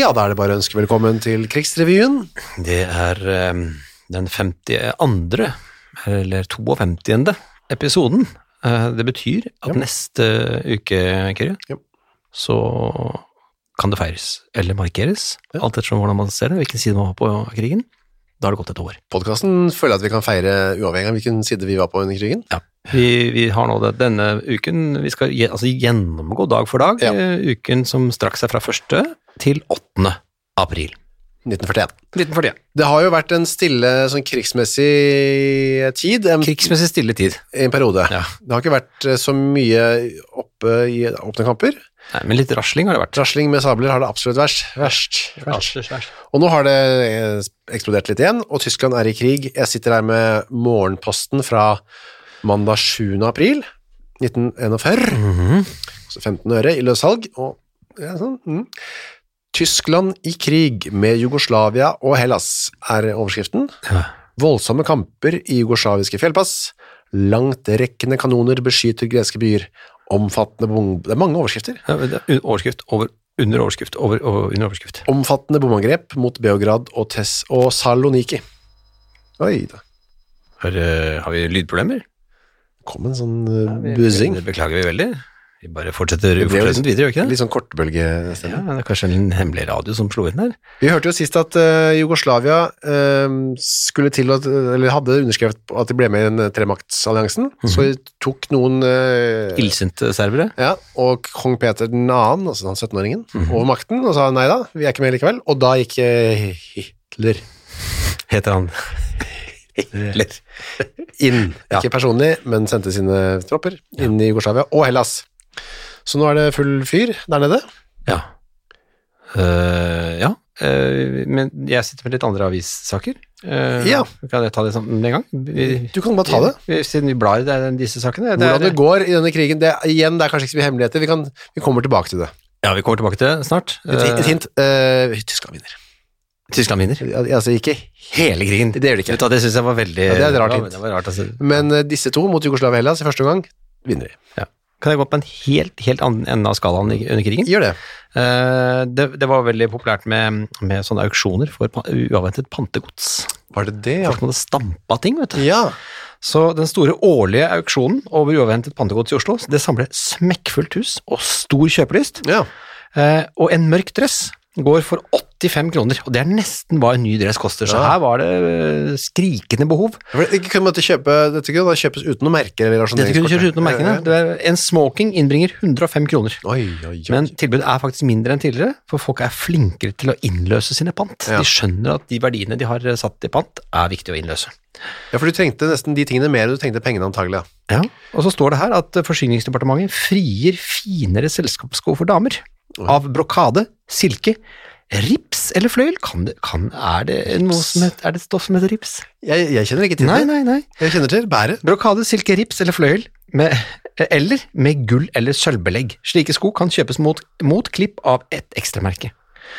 Ja, da er det bare å ønske velkommen til Krigsrevyen. Det er eh, den 52. eller 52. episoden. Eh, Det betyr at Ja. neste uke, Kyrre, Ja. så kan det feires eller markeres. Alt ettersom hvordan man ser det, hvilken side man var på av krigen. Da har det gått et år. Podkasten føler jeg at vi kan feire uavhengig av hvilken side vi var på under krigen. Vi, vi har nå det, denne uken Vi skal gje- altså, gjennomgå dag for dag Ja. eh, uken som strakk seg fra 1. til 8. april 1941. 1941. Det har jo vært en stille sånn krigsmessig tid, en, Krigsmessig stille tid. en periode. Ja. Det har ikke vært eh, så mye oppe i åpne kamper. Nei, men litt rasling har det vært. Rasling med sabler har det absolutt verst. verst. verst. Rasling. Og nå har det eh, eksplodert litt igjen, og Tyskland er i krig. Jeg sitter her med morgenposten fra mandag 7. april 1941. Mhm. koster 15 Altså øre i løssalg, og ja, sånn, mm. Tyskland i krig med Jugoslavia og Hellas er overskriften. Ja. Voldsomme kamper i jugoslaviske fjellpass. Langtrekkende kanoner beskyter greske byer. Omfattende bom- Det er mange overskrifter. Ja, men det er un- Overskrift over under overskrift over, over under overskrift. Omfattende bomangrep mot Beograd og, Tess og Saloniki. Oi da. Har, eh, har vi lydproblemer? Kom en sånn uh, buzzing. Det beklager vi veldig. Vi bare fortsetter Det ble jo uforløsent videre, gjør vi ikke det? Litt sånn kortbølgestemme. Ja, det er kanskje en hemmelig radio som slo inn der. Vi hørte jo sist at eh, Jugoslavia eh, skulle til å, eller hadde underskrevet at de ble med i den eh, tremaktsalliansen, Mhm. så tok noen eh, Illsinte serbere. ja, og kong Peter den annen, altså han 17-åringen, Mhm. over makten og sa nei da, vi er ikke med likevel, og da gikk eh, Hitler Heter han Eller inn, Ja. ikke personlig, men sendte sine tropper inn i Jugoslavia og Hellas. Så nå er det full fyr der nede. Ja. Eh, ja. eh, men jeg sitter med litt andre avissaker. Eh, Ja. Kan jeg ta det sammen med en gang? Vi, Du kan bare ta det. vi- Siden vi blar i det- disse sakene. det er- Hvordan det går i denne krigen, det, igjen, det er kanskje ikke så mye hemmeligheter, vi, kan, vi kommer tilbake til det. Ja, vi kommer tilbake til det snart. Et, et Eh, hint, eh, Tyskland vinner. Tyskland vinner. Ja, Altså ikke hele krigen, det gjør det Vet ikke. du hva, Det syns jeg var veldig Ja, det er et rart Ja, hint. det var rart, altså. Men eh, disse to mot Jugoslavia og Hellas i første gang, vinner de. Kan jeg gå på en helt, helt annen ende av skalaen i- under krigen? Gjør det. Eh, det, det var veldig populært med, med sånne auksjoner for pa- uavventet pantegods. Var det det, Folk hadde stampa ting, vet du. Ja. Så den store årlige auksjonen over uavventet pantegods i Oslo, det samler smekkfullt hus og stor kjøpelyst. ja. Eh, og en mørk dress går for 85 kroner, og det er nesten hva en ny dress koster. Så Ja. her var det eh, skrikende behov. For det kunne man ikke kjøpe, dette kunne da kjøpes uten noen merker eller Dette kunne rasjoneringskort. du kjørt uten å merke det. Det er- En smoking innbringer 105 kroner. eh, Oi, oi, oi. Men tilbudet er faktisk mindre enn tidligere, for folk er flinkere til å innløse sine pant. Ja. De skjønner at de verdiene de har eh, satt i pant, er viktig å innløse. ja, for du trengte nesten de tingene mer enn du trengte pengene antagelig. ja. Og så står det her at eh, Forsyningsdepartementet frigir finere selskapssko for damer. Oi. Av brokade, silke, rips eller fløyel. Kan det, kan, er, det noe som het, er det et stoff som heter rips? Jeg, jeg kjenner ikke til Nei, det. nei, nei. Jeg kjenner til bæret. Brokade, silke, rips eller fløyel, med, eller med gull eller sølvbelegg. Slike sko kan kjøpes mot, mot klipp av ett ekstramerke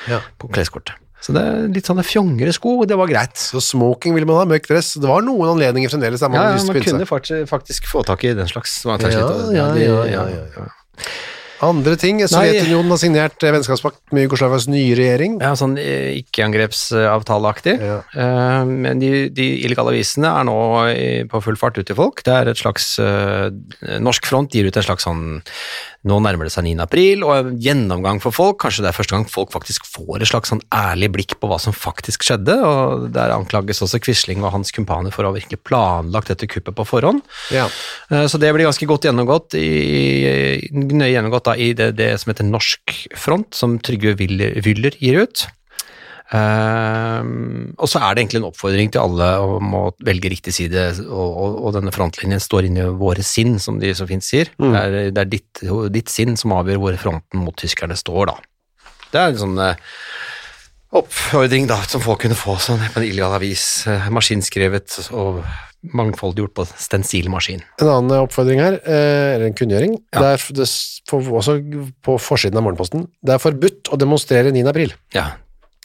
Ja. på kleskortet. Så det er litt sånne fjongere sko, og det var greit. Så smoking ville man ha, mørk dress. Det var noen anledninger fremdeles der man Ja, hadde ja, lyst til å man pynte kunne seg. fakt- faktisk få tak i den slags. Man tar Ja, slitt av- ja, de- ja, ja, ja, Andre ting, Sovjetunionen har signert eh, vennskapspakt med Jugoslavias nye regjering. Ja, sånn eh, ikke-angrepsavtaleaktig. Ja. Eh, Men de, de illegale avisene er nå i- på full fart ut til folk. Det er et slags eh, Norsk front gir ut en slags sånn Nå nærmer det seg 9. april, og en gjennomgang for folk. Kanskje det er første gang folk faktisk får et slags sånn ærlig blikk på hva som faktisk skjedde. og Der anklages også Quisling og hans kumpaner for å ha virkelig planlagt dette kuppet på forhånd. Ja. Eh, Så det blir ganske godt gjennomgått i, nøye gjennomgått da, i det, det som heter Norsk Front, som Trygve Willer Wyller gir ut. Ehm, og så er det egentlig en oppfordring til alle om å velge riktig side, og, og, og denne frontlinjen står inni våre sinn, som de så fint sier. Mm. Det er, det er ditt, ditt sinn som avgjør hvor fronten mot tyskerne står, da. Det er en sånn eh, oppfordring da, som folk kunne få sånn på en illegal avis, eh, maskinskrevet og mangfoldiggjort på stensilmaskin. En annen oppfordring her, eh, eller en kunngjøring, det er f- det, s- på, også på forsiden av Morgenposten. Det er forbudt å demonstrere 9. april. Ja,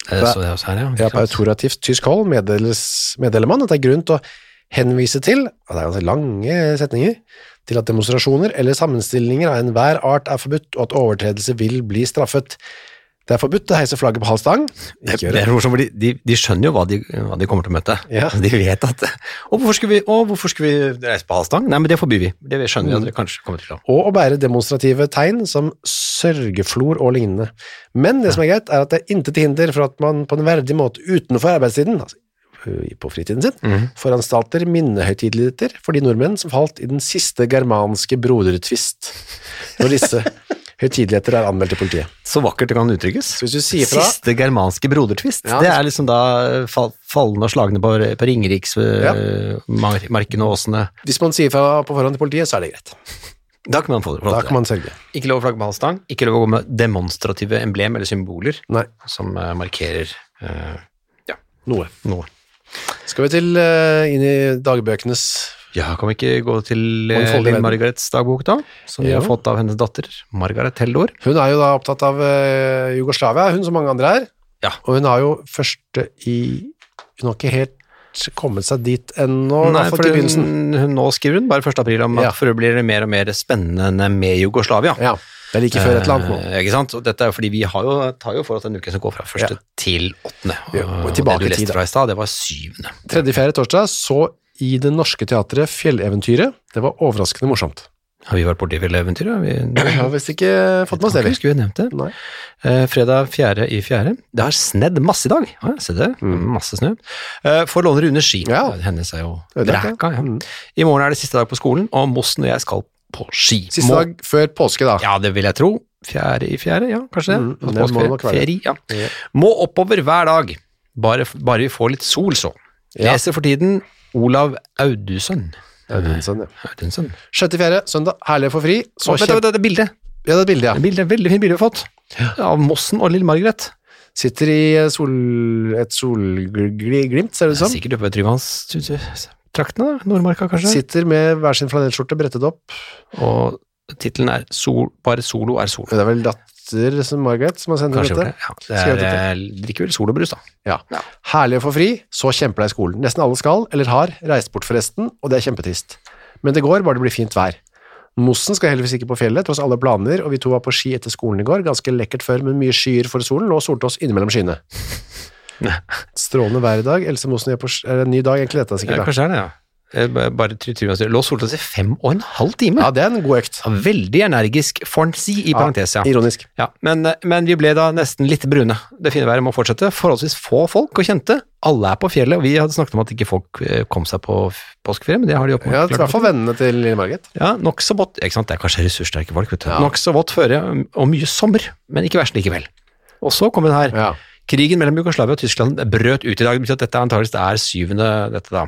Eh, Det- så det er også her, ja. Ja, ikke på sant? autorativt tysk hold meddeles, meddeler man at det er grunn til å henvise til, og det er ganske lange setninger, til at demonstrasjoner eller sammenstillinger av enhver art er forbudt, og at overtredelse vil bli straffet. Det er forbudt å heise flagget på halv stang. Ikke gjør Det er morsomt, fordi de, de skjønner jo hva de, hva de kommer til å møte. Ja. De vet at Og hvorfor skulle vi, å, hvorfor skulle vi reise på halvstang? Nei, men det forbyr vi. Det skjønner Mm. vi at dere kanskje kommer til å og å bære demonstrative tegn som sørgeflor og lignende. Men det som er greit, er at det er intet hinder for at man på en verdig måte utenfor arbeidstiden, altså ø, på fritiden sin, foranstalter minnehøytideligheter for de nordmenn som falt i den siste germanske brodertvist, når disse høytideligheter er anmeldt til politiet. Så vakkert det kan uttrykkes. Så hvis du sier fra- Siste germanske brodertvist. Ja. det er liksom da fall, fallende og slagne på, på Ja. Ringeriksmarkene og åsene. Hvis man sier fra på forhånd til politiet, så er det greit. Da kan man få det. Da kan man sørge. Ikke lov å flagge med halvstang. Ikke lov å gå med demonstrative emblem eller symboler Nei, som eh, markerer eh, ja, noe. noe. Skal vi til ø, inn i dagbøkenes Ja, kan vi ikke gå til eh, Mangfoldig Linn verden. Margarets dagbok, da? Som vi Ja. har fått av hennes datter, Margaret Teldor. Hun er jo da opptatt av eh, Jugoslavia, hun som mange andre er. Ja. Og hun har jo første i Hun har ikke helt kommet seg dit ennå, i hvert fall til begynnelsen. hun, hun nå skriver hun bare 1. april om at Ja. for det blir det mer og mer spennende med Jugoslavia. Ja, det er like før et eller annet nå. Eh, ikke sant? Og dette er jo fordi vi har jo, tar jo for oss den uken som går fra første Ja. til åttende. Ja, og Og tilbake det i du tid, da. leste fra i stad, det var syvende. Tredje-fjerde torsdag så i Det Norske Teatret Fjelleventyret. Det var overraskende morsomt. Har vi vært borti fjelleventyret? Har vi- Jeg har visst ikke fått med oss det, Tanken vi. Skulle vi nevnt det? Nei. Eh, fredag 4. i 4. Det har snedd masse i dag. Ja, se det. Masse snø. Eh, får låne Rune ski. Mm. Ja. Hennes er jo Ødelagt, vreka. Ja. Mm. I morgen er det siste dag på skolen, og Mossen og jeg skal på ski. Siste Må- dag før påske, da. Ja, det vil jeg tro. Fjerde i fjerde, ja, kanskje det. Mm, det Påskeferie. må det nok være. Ferie, ja. Ja. Må oppover hver dag. Bare, bare vi får litt sol, så. Ja. Leser for tiden Olav Audunsen. Ja, det er sånn, ja. Audunsen. Sjette-fjerde, søndag, herlig å få fri. Så Så, vent, kjem- vent, det er bildet. Ja, det er et bilde, Det ja. er bildet. Veldig fint bilde vi har fått. Av Mossen og Lille Margaret. Sitter i sol, et solglimt, ser det ut Det er som. sikkert oppe ved Tryvannstraktene, da. Nordmarka, kanskje. Sitter med hver sin flanellskjorte brettet opp. Og tittelen er sol, 'Bare solo er sol'. Det er vel datter som Margaret som har sendt inn Kanskje gjorde dette. det. Ja, Skrevet det er, eh, drikker vel sol og brus, da. Ja. Ja. Herlig å få fri, så kjemper deg i skolen. Nesten alle skal, eller har, reist bort forresten, og det er kjempetrist. Men det går, bare det blir fint vær. Mossen skal heldigvis ikke på fjellet, tross alle planer, og vi to var på ski etter skolen i går, ganske lekkert før, men mye skyer for solen, og solte oss innimellom skyene. Strålende vær i dag, Else Mossen er på sk- er det en ny dag, egentlig dette Ja, sikkert. da. kanskje det er det, ja. Eh, ba- Bare Try- Tryvannstrakt Lå Soltaas i fem og en halv time. Ja, det er en god økt. Ja, Veldig energisk, får en si, i parentes, ja. Ironisk. ja. Men, eh, men vi ble da nesten litt brune. Det fine været må fortsette. Forholdsvis få folk og kjente. Alle er på fjellet, og vi hadde snakket om at ikke folk eh, kom seg på f- påskeferie, men det har de Ja, åpenbart i hvert fall vennene til Lille Margaret. Ja, nokså vått. Ikke sant, det er kanskje ressurssterke folk, vet du. Ja. Nokså vått føre og mye sommer, men ikke verst likevel. Og så kom den her. Ja. Krigen mellom Jugoslavia og Tyskland brøt ut i dag. Det betyr at dette antageligvis er syvende, dette da.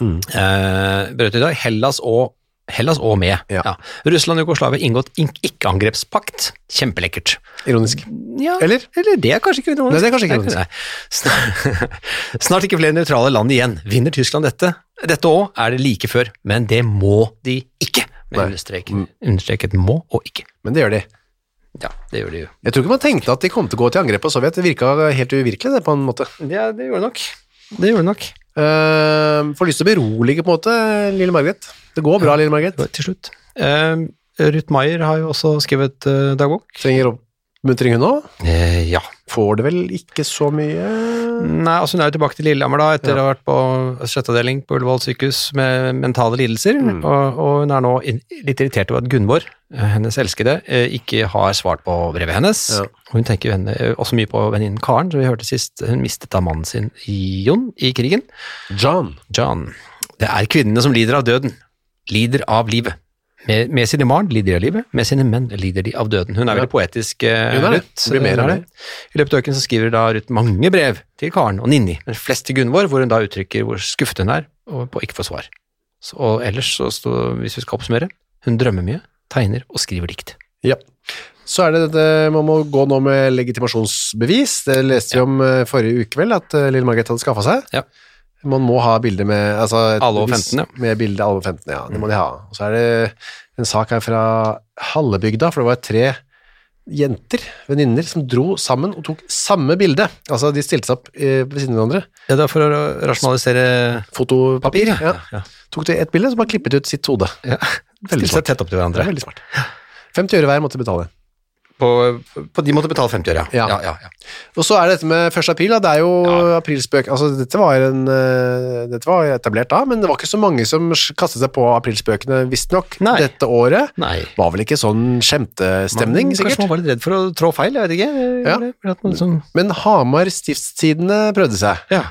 Mm. Eh, brøt ut i dag. Hellas og Hellas og med. Ja. Russland og Jugoslavia inngått in- ikke-angrepspakt. Kjempelekkert. Ironisk. Ja, Eller? eller det er kanskje ikke ironisk. Nei, det er kanskje ikke Nei, Snart, snart ikke flere nøytrale land igjen. Vinner Tyskland dette? Dette òg er det like før, men det må de ikke. Nei. Men understreket, understreket må og ikke. Men det gjør de. Mm. Ja, det gjør de jo. Jeg tror ikke man tenkte at de kom til å gå til angrep på Sovjet. Det virka helt uvirkelig, det, på en måte. Ja, det gjorde nok. Det gjorde nok. Uh, får lyst til å berolige, på en måte, lille Margaret. Det går bra, lille Margaret. til slutt. Eh, Ruth Maier har jo også skrevet eh, dagbok. Trenger oppmuntring, hun òg. Eh, ja. Får det vel ikke så mye Nei, altså Hun er jo tilbake til Lillehammer da, etter å ha vært på sjette avdeling på Ullevål sykehus med mentale lidelser. Og, og hun er nå in litt irritert over at Gunvor, eh, hennes elskede, eh, ikke har svart på brevet hennes. Ja. Og Hun tenker jo henne, eh, også mye på venninnen Karen, som vi hørte sist. Hun mistet da mannen sin i Jon i krigen. John. John. Det er kvinnene som lider av døden. Lider av livet. Med, med sine barn lider de av livet, med sine menn lider de av døden. Hun er Ja. veldig poetisk, eh, Hun er det. Ruth. Det blir mer av Hun er I løpet av uken så skriver da Ruth mange brev til Karen og Ninni, men flest til Gunvor, hvor hun da uttrykker hvor skuffet hun er og på å ikke få svar. Så, og ellers, så, stå- hvis vi skal oppsummere, hun drømmer mye, tegner og skriver dikt. Ja. Så er det dette, man må gå nå med legitimasjonsbevis. Det leste vi om eh, forrige uke vel, at eh, Lille Margrethe hadde skaffa seg. Ja. Man må ha bilde med altså, et Alle over bevis 15, ja. Mm. Med bilde alle over 15, ja. Det må de ha. Og så er det en sak her fra Hallebygda, for det var tre jenter, venninner, som dro sammen og tok samme bilde. Altså, de stilte seg opp eh, ved siden av hverandre. Ja, det er for å rasjonalisere Fotopapir. Ja. ja. Tok de et bilde, så bare klippet ut sitt hode. ja. Veldig Still seg smart. tett opp til Det hverandre. er veldig smart. 50 øre hver måtte betale. På, på de måtte betale 50 øre, Ja. ja, ja, ja. Og så er det dette med 1. april, da. det er jo Ja. aprilspøk. Altså, dette var, en, eh, dette var etablert da, men det var ikke så mange som s- kastet seg på aprilspøkene, visstnok, Nei. dette året. Nei. Var vel ikke sånn skjemtestemning, Kanskje sikkert. man var litt redd for å trå feil, jeg vet ikke. Ja. Eller At man liksom, Men Hamar Stiftstidene prøvde seg. ja.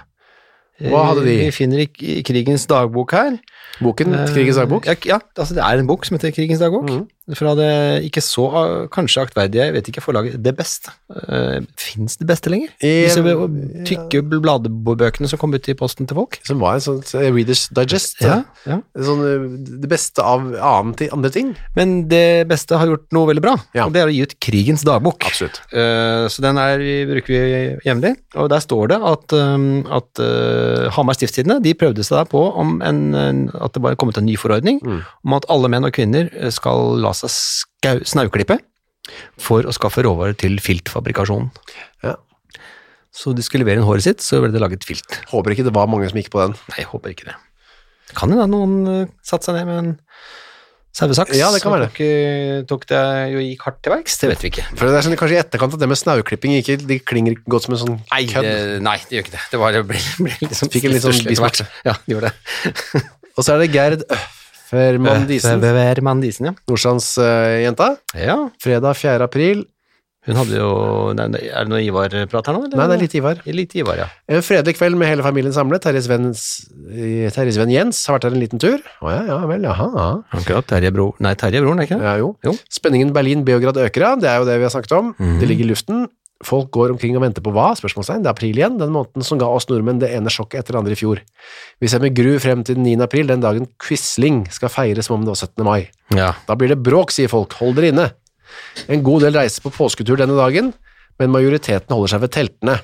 Hva hadde de? Eh, Vi finner i i krigens dagbok her. Boken Krigens dagbok. Eh, Ja, ja, altså det er en bok som heter Krigens dagbok. Mhm. Fra det ikke så uh, kanskje aktverdige, jeg vet ikke, forlaget Det Beste. Uh, Fins Det Beste lenger? I- Disse uh, tykke bladbøkene som kom ut i posten til folk? Som var en sånn eh, Readers Digest. Ja, ja. En Sånn, eh, det beste av annet til andre ting. Men Det Beste har gjort noe veldig bra, Ja. og det er å gi ut Krigens dagbok. Absolutt. Eh, så den er, bruker vi jevnlig, og der står det at, um, at eh, Hamar Stiftstidende de prøvde seg der på om en, en, at det bare kom ut en ny forordning Mm. om at alle menn og kvinner eh, skal la seg skau, snauklippe for å skaffe råvarer til filtfabrikasjonen. Ja. Så de skulle levere inn håret sitt, så ble det laget filt. Håper ikke det var mange som gikk på den. Nei, jeg håper ikke det. Kan jo da noen eh, satte seg ned med en sauesaks Ja, det kan og være det. tok, eh, tok det jo gikk hardt til verks, det vet vi ikke. For det er sånn, kanskje i etterkant at det med snauklipping ikke de klinger ikke godt som en sånn Nei, kødd. det, nei, det gjør ikke det. Det var, det ble, ble liksom Fikk en litt sånn stusslig etter hvert. Ja, det gjorde det. Eh, Og så er det Gerd Øffermann Disen, Bevermann Disen, ja. Nordstrandsjenta. ja. eh, Fredag 4. april. Hun hadde jo nei, nei, Er det noe Ivar-prat her nå? eller? Nei, det er litt Ivar. Litt Ivar, ja. En fredelig kveld med hele familien samlet. Terjes venn, Terjes venn Jens har vært der en liten tur. Å ja, ja vel, jaha. ja. Akkurat. Terje Bro... Nei, Terje Broren, er ikke det? Ja, jo. Jo. Spenningen Berlin-Beograd øker, ja. Det er jo det vi har snakket om. Mhm. Det ligger i luften. Folk går omkring og venter på hva? Spørsmålstegn. Det er april igjen, den måneden som ga oss nordmenn det ene sjokket etter det andre i fjor. Vi ser med gru frem til den 9. april, den dagen Quisling skal feires som om det var 17. mai. Ja. Da blir det bråk, sier folk. Hold dere inne. En god del reiser på påsketur denne dagen, men majoriteten holder seg ved teltene.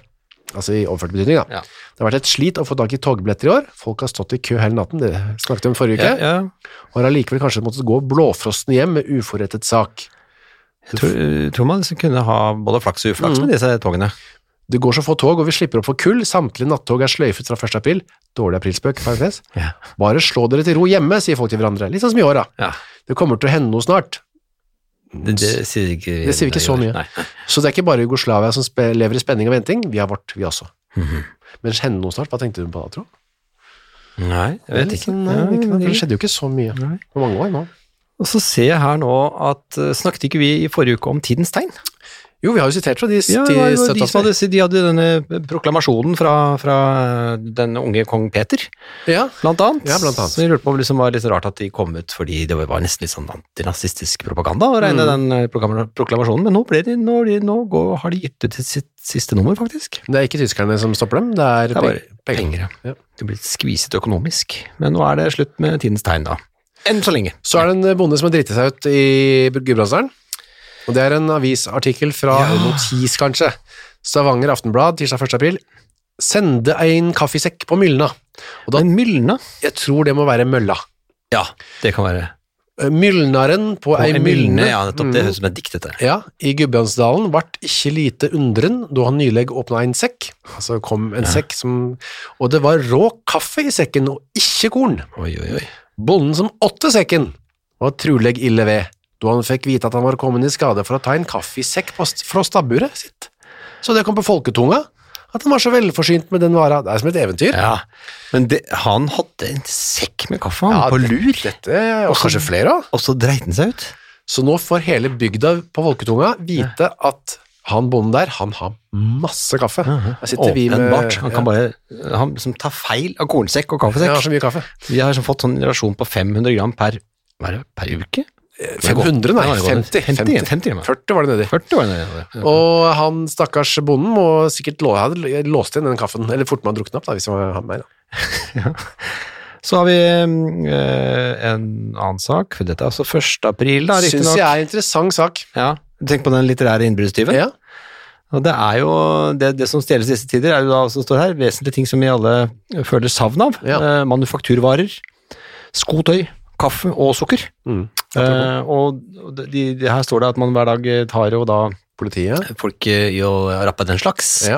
Altså i overført betydning, da. Ja. Det har vært et slit å få tak i togbilletter i år. Folk har stått i kø hele natten, det snakket vi om forrige uke, ja, ja. og har allikevel kanskje måttet gå blåfrosten hjem med uforrettet sak. Jeg tror, tror man liksom kunne ha både flaks og uflaks med disse togene. Det går så få tog, og vi slipper opp for kull. Samtlige nattog er sløyfet fra 1. april. Dårlig aprilspøk, parentes. Ja. Bare slå dere til ro hjemme, sier folk til hverandre. Litt sånn som i år, da. Ja. Det kommer til å hende noe snart. Det, det sier ikke Det sier ikke så mye. Nei. Så det er ikke bare Jugoslavia som spe- lever i spenning og venting, vi har vårt, vi også. Men hende noe snart, hva tenkte du på da, tro? Nei, jeg vet ikke. Nei, Ja, ikke noe, for det- det skjedde jo ikke så mye Nei. på mange år nå. Og så ser jeg her nå at eh, Snakket ikke vi i forrige uke om tidens tegn? Jo, vi har jo sitert fra de, Ja, det var jo de, som støttasene. hadde, de hadde denne proklamasjonen fra, fra eh, den unge kong Peter, Ja, blant annet. Ja, blant annet. Så jeg lurte på om det liksom var litt rart at de kom ut, fordi det var nesten litt sånn antinazistisk propaganda å regne den eh, proklama- proklamasjonen, men nå, ble de, nå, de, nå går, har de gitt ut sitt siste nummer, faktisk. det er ikke tyskerne som stopper dem, det er, Det er bare pe- penger. penger. Ja. ja. De blir skviset økonomisk, men nå er det slutt med tidens tegn, da. Enn så lenge. Så er det en bonde som har dritt seg ut i Gudbrandsdalen, og det er en avisartikkel fra Ja. Notis, kanskje. Stavanger Aftenblad, tirsdag 1. april. Sende en kaffesekk på Mylna. Og da, Men Mylna? jeg tror det må være mølla. Ja, det kan være. Eh, Mylnaren på, Og ei mylne. Ja, nettopp. Det Mm. høres ut som et dikt, dette. Ja, i Gudbrandsdalen vart ikke lite undren da han nylig åpna en sekk. Altså kom en sekk som Og det var rå kaffe i sekken, og ikke korn. Oi, oi, oi. Bonden som åtte sekken, var truleg ille ved da han fikk vite at han var kommet i skade for å ta en kaffesekk på st- fra stabburet sitt. Så det kom på folketunga at han var så velforsynt med den vara. Det er som et eventyr. Ja, men det, han hadde en sekk med kaffe han, Ja, på lur, Dette, og kanskje flere òg. og så dreit han seg ut. Så nå får hele bygda på folketunga vite at han bonden der, han har masse kaffe. Her sitter vi med Åpenbart. Han Ja. kan bare han liksom tar feil av kornsekk og Jeg har kaffesekk. så mye kaffe. Vi har liksom fått sånn relasjon på 500 gram per, hva er det, per uke? 500, nei, Ja, det går- 50. 50, 50, ja. 40 var det nedi. 40 var det. Ja. Og han stakkars bonden må sikkert lå, hadde låst inn den kaffen, eller fort man drukne opp, da, hvis han var meg. Da. Så har vi eh, en annen sak. Dette er altså 1. april, da, Syns riktignok. jeg er en interessant sak. Ja. Tenk på den litterære innbruddstyven. Ja. Og det er jo det, det som stjeles i disse tider, er jo da som står her, vesentlige ting som vi alle eh, føler savn av. Ja. Eh, manufakturvarer, skotøy, kaffe og sukker. Mm. Eh, og de, de, her står det at man hver dag eh, tar jo da Politiet. Folk eh, gjør rappa den slags. Ja.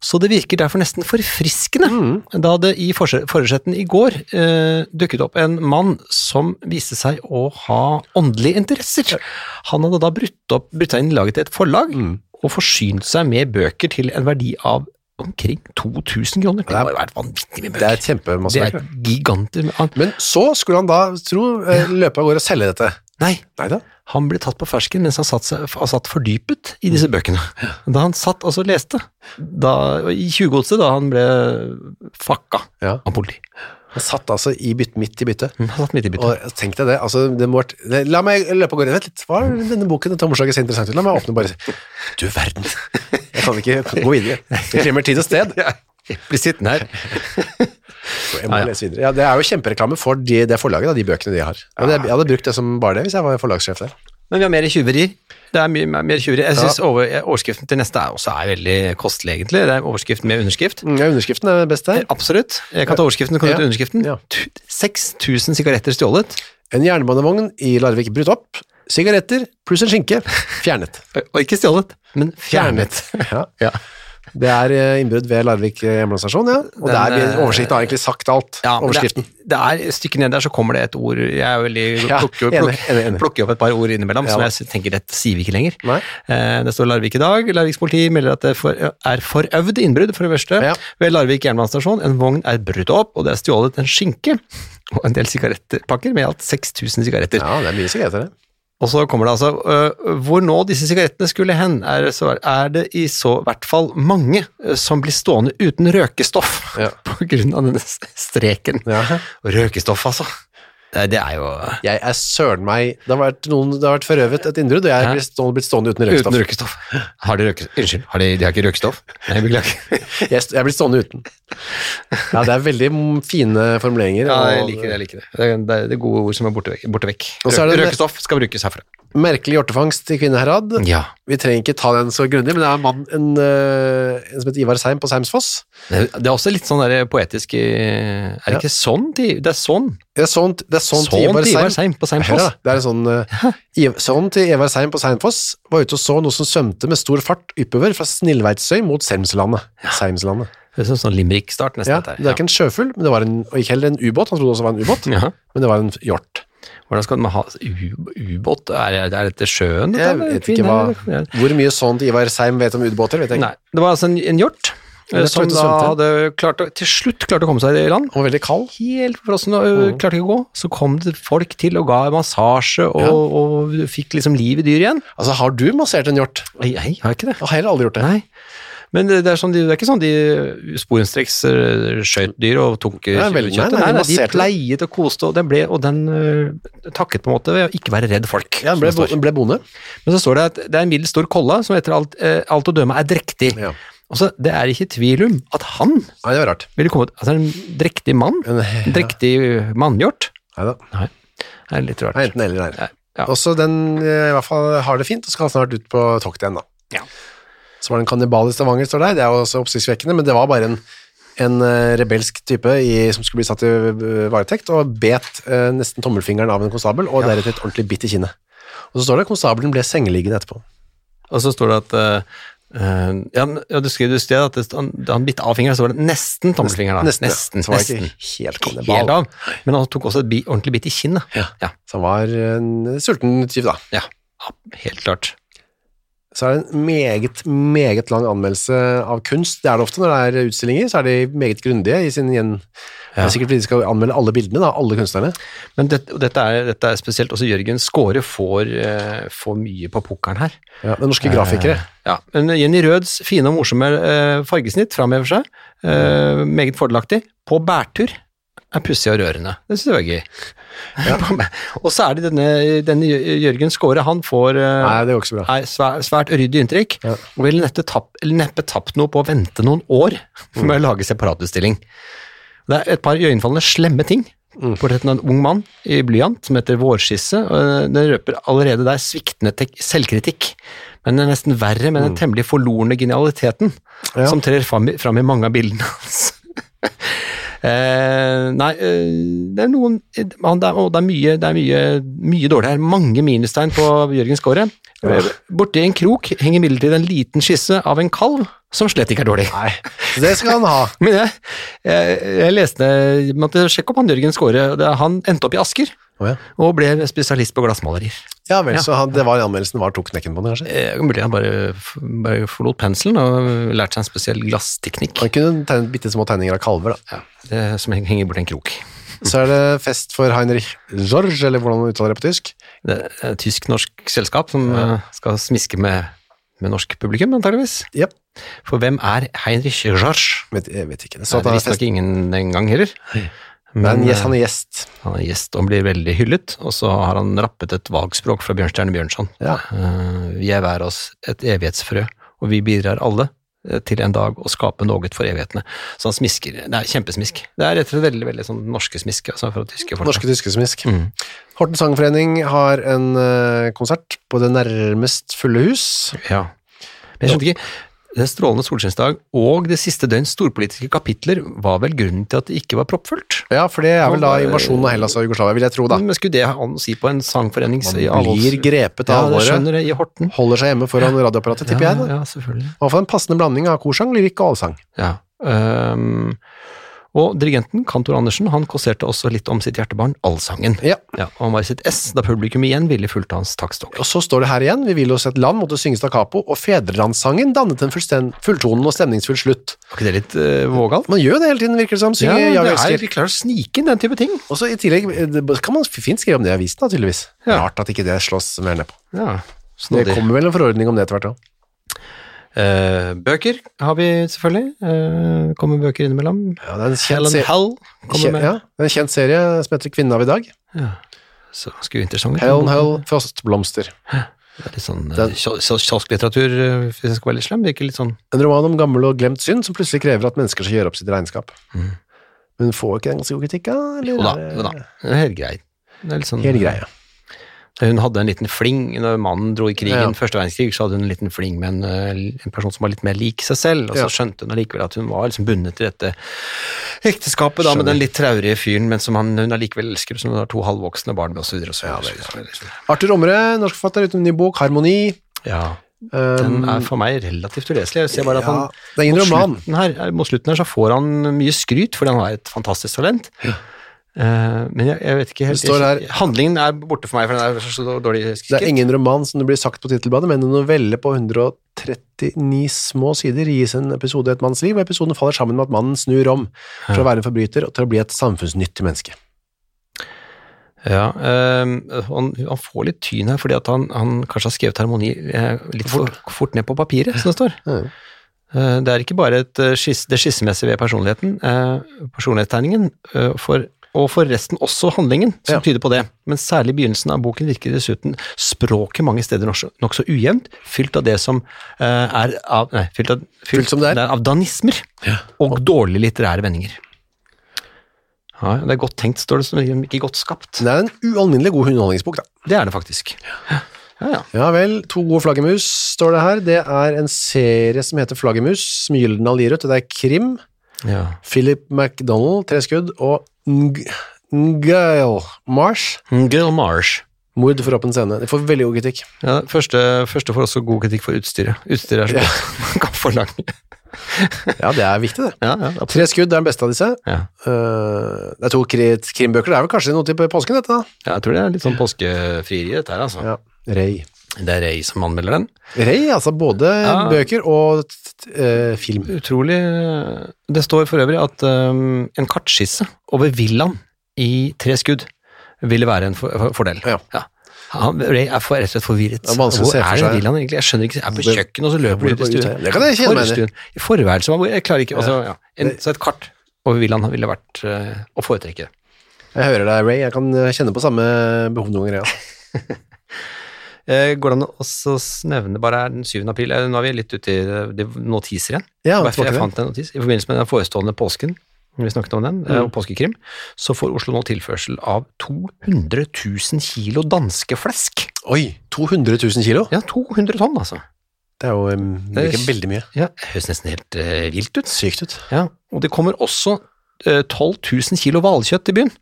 Så det virker derfor nesten forfriskende Mm. da det i forse- forsetten i går eh, dukket opp en mann som viste seg å ha åndelige interesser. Han hadde da brutt, opp, brutt seg inn i laget til et forlag, Mm. og forsynt seg med bøker til en verdi av omkring 2000 kroner. Det er- Altså, må jo være vanvittig mye Det bøker. er kjempemasse Det er, bøker. giganter. Han, Men så skulle han da, tro, eh, løpe av gårde og selge dette. nei, Neida. han ble tatt på fersken mens han satt, seg, han satt fordypet i Mm. disse bøkene. Da han satt og så leste, da, i tjuvgodset, da han ble fakka Ja. av politi. Han satt altså i bytt, midt i byttet. Han satt midt i byttet. Og tenk deg det, altså, det må vært, det, la meg løpe av gårde, vent litt, hva er denne boken, dette omslaget ser interessant ut, la meg åpne og bare, si, du verden, jeg kan ikke gå videre, jeg glemmer tid og sted, Ja, jeg blir sittende her. jeg må lese videre. Ja, det er jo kjempereklame for de, det forlaget, da, de bøkene de har. Og det, jeg hadde brukt det som bare det, hvis jeg var forlagssjef der. Men vi har mer tjuverier. Det er mye mer- mer tjuverier. Jeg Ja. synes over, eh, overskriften til neste er også er veldig kostelig, egentlig. Det er overskriften med underskrift. Mm, ja, underskriften er det beste. Eh, Absolutt. Jeg kan ta overskriften. Kan du Ja. ta underskriften? Ja. Tu- 6000 sigaretter stjålet. En jernbanevogn i Larvik brutt opp, sigaretter pluss en skinke, fjernet. Eh, Og ikke stjålet, men fjernet. Ja. Det er eh, innbrudd ved Larvik eh, jernbanestasjon, ja. Og Den, der eh, oversikten har egentlig sagt alt, Ja, men overskriften. Det, det er et stykke ned der, så kommer det et ord Jeg er jo veldig, Ja, plukker, jo- enig, plukk- enig, enig. plukker opp et par ord innimellom Ja. som jeg sy- tenker dette sier vi ikke lenger. Nei. Eh, det står Larvik i dag. Larviks politi melder at det for, er forøvd innbrudd, for det første, Ja. ved Larvik jernbanestasjon. En vogn er brutt opp, og det er stjålet en skinke og en del sigarettpakker med i alt 6000 sigaretter. Ja, det er mye sigaretter, det. Og så kommer det altså øh, Hvor nå disse sigarettene skulle hen, er, det så, er det i så hvert fall mange øh, som blir stående uten røkestoff Ja. på grunn av denne s- streken. Ja. Og Røkestoff, altså. Det, det er jo Jeg er søren meg Det har vært, noen, det har vært forøvet et innbrudd, og jeg Ja. er blitt stående, blitt stående uten Uten røykstoff. røkestoff. Har de røkestoff? Unnskyld, har de, de har ikke røkestoff? Nei, beklager. Jeg, st- jeg er blitt stående uten. Ja, det er veldig mm, fine formuleringer. Ja, jeg og- liker det. jeg liker Det Det er, det er det gode ord som er borte vekk. Borte vekk. Og så er Rø- det- Røkestoff skal brukes herfra. Merkelig hjortefangst i Kvinneherad. Ja. Vi trenger ikke ta den så grundig, men det er en mann en, eh, en som heter Ivar Seim på Seimsfoss. Det det er også litt sånn der poetisk eh, Er det Ja. ikke sånn de Det er sånn. Det er sånn, det er sånn, Sånn til Ivar til Seim. Ivar Seim på Hør Seimfoss. da, det er en sånn eh, Iv- Sånn til Ivar Seim på Seimfoss var ute og så noe som svømte med stor fart oppover fra Snillveitsøy mot Seimslandet. Seimslandet. Det er sånn, sånn limerick-start nesten. Ja, dette her. det er ikke en sjøfugl, men det var en, og ikke heller en ubåt. Han trodde også det var en ubåt, Ja. Ja. men det var en hjort. Hvordan skal man ha u- ubåt? Er, er dette sjøen? dette, Jeg eller? vet ikke Kvinner, hva- eller? Hvor mye sånt Ivar Seim vet om ubåter, vet jeg ikke. Nei. Det var altså en, en hjort eh, Rett og som slett da svømte. hadde klart å, til slutt klarte å komme seg i land. Han var veldig kald. Helt forfrossen og ø, klarte ikke å gå. Så kom det folk til og ga massasje og, Ja. og fikk liksom liv i dyr igjen. Altså, har du massert en hjort? Nei, jeg har ikke det. Jeg har heller aldri gjort det. Nei. Men det, det, er sånn, de- det er ikke sånn de sporenstreks eh, skjøt dyr og tok eh, Nei, vel, nei, kjøttet. nei, Nei, nei, de masserte. pleiet og koste, og den, ble, og den eh, takket på en måte ved å ikke være redd folk. Ja, han ble, som det står. ble bonde. Men så står det at det er en middels stor kolle som etter alt, eh, alt å dømme er drektig. Ja. Og så, det er ikke tvil om at han Nei, det var rart. ville kommet Altså en drektig mann? En, En drektig mannhjort? Neida. Det er litt rart. Nei, enten eller, nei. Nei, ja. Også den eh, i hvert fall har det fint, og skal snart ut på tokt igjen, da. Ja. Så var det en kannibal i Stavanger, står der. Det er jo også oppsiktsvekkende, men det var bare en, en eh, rebelsk type i, som skulle bli satt i eh, varetekt, og bet eh, nesten tommelfingeren av en konstabel, og deretter et ordentlig bitt i kinnet. Og så står det at konstabelen ble sengeliggende etterpå. Og så står det at eh, eh, ja, men- ja, du skrev jo i sted at det, han, da han bitt av fingeren, så var det nesten tommelfingeren. da. Nesten. ja. nesten, Så var det nesten. ikke helt kannibal. Helt av. Men han tok også et bi, ordentlig bit i kinnet. Ja. Ja, Så han var en sulten tyv, da. ja. Ja, Helt klart. Så er det en meget, meget lang anmeldelse av kunst. Det er det ofte når det er utstillinger, så er de meget grundige i sin gjen... Det Ja. er sikkert fordi de skal anmelde alle bildene, da, alle kunstnerne. Men det, og dette, er, dette er spesielt. Også Jørgen Skåre får, eh, får mye på pokeren her. Ja, det er norske grafikere. Eh, Ja, men Jenny Røds fine og morsomme eh, fargesnitt framhever seg. Eh, Mm. meget fordelaktig. På bærtur er pussig og rørende. Det syns jeg var gøy. og så er det denne, denne Jø- Jørgen Skåre, han får eh, Nei, det går ikke så bra. er svært, svært uryddig inntrykk, Ja. og ville neppe tapt, neppe tapt noe på Mm. å vente noen år med å lage separatutstilling. Det er et par iøynefallende slemme ting Mm. Portretten av en ung mann i blyant som heter Vårskisse. og eh, Den røper allerede der sviktende tek- selvkritikk, men den er nesten verre med den temmelig forlorne genialiteten Mm. Ja. som trer fram, i- fram i mange av bildene hans. Eh, nei, eh, det er noen han, det, er, å, det er, mye, det er mye, mye dårlig her. Mange minustegn på Jørgen Skåre. Ja. Borti en krok henger imidlertid en liten skisse av en kalv, som slett ikke er dårlig. Nei, så det skal han ha. Men jeg, jeg, jeg leste jeg måtte sjekke opp han Jørgen Skåre. Det- Han endte opp i Asker Å ja. og ble spesialist på glassmalerier. Ja vel, Ja. så han, det var anmeldelsen var tok knekken på den, kanskje? Eh, Mulig han bare, f- bare forlot penselen og lærte seg en spesiell glassteknikk Han kunne tegne bitte små tegninger av kalver, da. eh, som heng- henger bort i en krok. Så er det fest for Heinrich George, eller hvordan man uttaler det på tysk. Det er et tysk-norsk selskap som eh, skal smiske med, med norsk publikum, antageligvis. Jep, For hvem er Heinrich Jarsch? vet, jeg vet ikke. Så Så at det han er visste nok fest. ingen den gang heller. Men yes, eh, han er gjest. Han er gjest og blir veldig hyllet, og så har han rappet et valgspråk fra Bjørnstjerne Bjørnson. Ja. Eh, vi er hver oss et evighetsfrø, og vi bidrar alle eh, til en dag å skape noe for evighetene. Så han smisker. Det er kjempesmisk. Det er rett og slett veldig veldig sånn norske smisk, altså fra tyske folk. Norske tyskesmisk. Mm. Horten Sangforening har en eh, konsert på det nærmest fulle hus. Ja. Men jeg skjønte ikke Det er strålende solskinnsdag og det siste døgns storpolitiske kapitler var vel grunnen til at det ikke var proppfullt? Ja, for det er vel da Og, eh, invasjonen av Hellas og Jugoslavia, vil jeg tro, da. Men skulle det ha an å si på en sangforenings... Man blir grepet av Ja, jeg alvoret. skjønner det, i Horten. Holder seg hjemme foran radioapparatet, tipper ja, jeg. da. ja, selvfølgelig. Og for en passende blanding av korsang, lyrikk og allsang. Ja. ehm, og dirigenten, kantor Andersen, han kåserte også litt om sitt hjertebarn, allsangen. Ja. Ja, og han var i sitt ess da publikum igjen ville fulgt hans taktstokk. Og så står det her igjen, vi vil oss et land måtte synges da capo, og fedrelandssangen dannet en fullsten- fulltonen og stemningsfull slutt. Var ikke det litt eh, vågalt? Man gjør jo det hele tiden, virker det som. Synger ja, ja, det jeg er, elsker. vi klarer å snike inn den type ting. Og så i tillegg eh, det kan man fint skrive om det i avisen, da, tydeligvis. Ja. Rart at ikke det slås mer ned på. Ja, Det snodig. kommer vel en forordning om det etter hvert òg. Eh, bøker har vi selvfølgelig. Eh, kommer bøker innimellom. Ja, det er en kjent, Helen se Hell kommer kje- med. ja, det er en kjent serie som heter Kvinnen av i dag. Ja. Så ganske uinteressant. Helen Hell, Frostblomster. Det er Litt sånn eh, Den- kio- kio- kiosklitteratur, eh, hvis jeg skal være litt slem. Virker litt sånn En roman om gammel og glemt synd som plutselig krever at mennesker skal gjøre opp sitt regnskap. Mhm. Men får ikke den ganske god kritikk, da? eller Jo da, er det- jo da. Det er helt grei. Det er litt sånn, Helt greia. Hun hadde en liten fling når mannen dro i krigen, Ja. første verdenskrig, så hadde hun en liten fling med en, eh, en person som var litt mer lik seg selv, og så Ja. skjønte hun allikevel at hun var liksom bundet til dette ekteskapet da, Skjønner. med den litt traurige fyren, men som han, hun allikevel elsker, som hun har to halvvoksne barn med, og så videre. Og så videre. Arthur Omre, norsk forfatter uten ny bok, Harmoni. ja, Um, den er for meg relativt uleselig. Jeg ser bare at ja, han det er ingen mot roman. slutten her, eh, mot slutten her så får han mye skryt, fordi han er et fantastisk talent. Eh, men jeg, jeg vet ikke helt Det står her- Handlingen er borte for meg, for den er så så dårlig skikket. Det er ingen roman som det blir sagt på titelbladet, men en novelle på 139 små sider gis en episode i et manns liv, og episoden faller sammen med at mannen snur om fra å være en forbryter og til å bli et samfunnsnyttig menneske. Ja, ehm, han, han får litt tyn her, fordi at han, han kanskje har skrevet harmoni eh, litt for fort ned på papiret, som det står. Mhm. Eh, det er ikke bare et, eh, skis, det skissemessige ved personligheten, eh, personlighetstegningen, eh, for, og forresten også handlingen, som Ja. tyder på det. Men særlig i begynnelsen av boken virker dessuten språket mange steder nokså nok så ujevnt, fylt av det som eh, er av, nei, fylt, av, Fylt som det er. av danismer og dårlige litterære vendinger. Ja, det er godt tenkt, står det, som ikke godt skapt. Det er en ualminnelig god underholdningsbok, da. Det er det faktisk. Ja, ja. Ja vel, To gode flaggermus står det her. Det er en serie som heter Flaggermus, som Gyldendal gir ut. og Det er krim. ja. Philip MacDonald, tre skudd, og Ng- Ngail Marsh, Girl Mm, Marsh. mord for åpen scene. De får veldig god kritikk. Ja, første, første får også god kritikk for utstyret. Utstyret er så godt man kan forlange. Ja, det er viktig, det. Ja, ja, absolutt. Tre skudd er den beste av disse. Ja. Eh, det er to kri- krimbøker. Det er vel kanskje noe til på påsken, dette, da? Ja, jeg tror det er litt sånn påskefrieri, dette her, altså. Ja. Rei. Det er jeg som anmelder den. Rei, altså både Ja. bøker og t- t- eh, film. Utrolig eh, Det står for øvrig at um, en kartskisse over villaen i tre skudd ville være en for, for, fordel. Ja. Han Ray er for, rett og slett forvirret. Det er vanskelig å hvor se for er seg. den villaen egentlig? Jeg skjønnner ikke. Jeg er på Hvor- kjøkkenet, og så løper hvor du ut i går det ut her? stuen. Det kan jeg kjenne meg igjen i. Forstuen. I forværelset, hvor- jeg klarer ikke altså, ja. en, Så et kart over villaen ville vært eh, å foretrekke. Jeg hører deg, Ray. Jeg kan eh, kjenne på samme behov noen ganger. Ja. Eh, går det an å også s- nevne bare her den 7. april eh, Nå er vi litt ute i eh, det- notiser igjen. Ja, tilbake Hvorfor til jeg det. fant en notis i forbindelse med den forestående påsken. når vi snakket om den, eh, og påskekrim, så får Oslo nå tilførsel av 200 000 kilo danske flesk. Oi, 200 000 kilo? Ja, 200 tonn, altså. Det er jo um, det er ikke veldig mye. Ja, det høres nesten helt eh, vilt ut. Sykt ut. Ja, og det kommer også eh, 12 000 kilo hvalkjøtt til byen.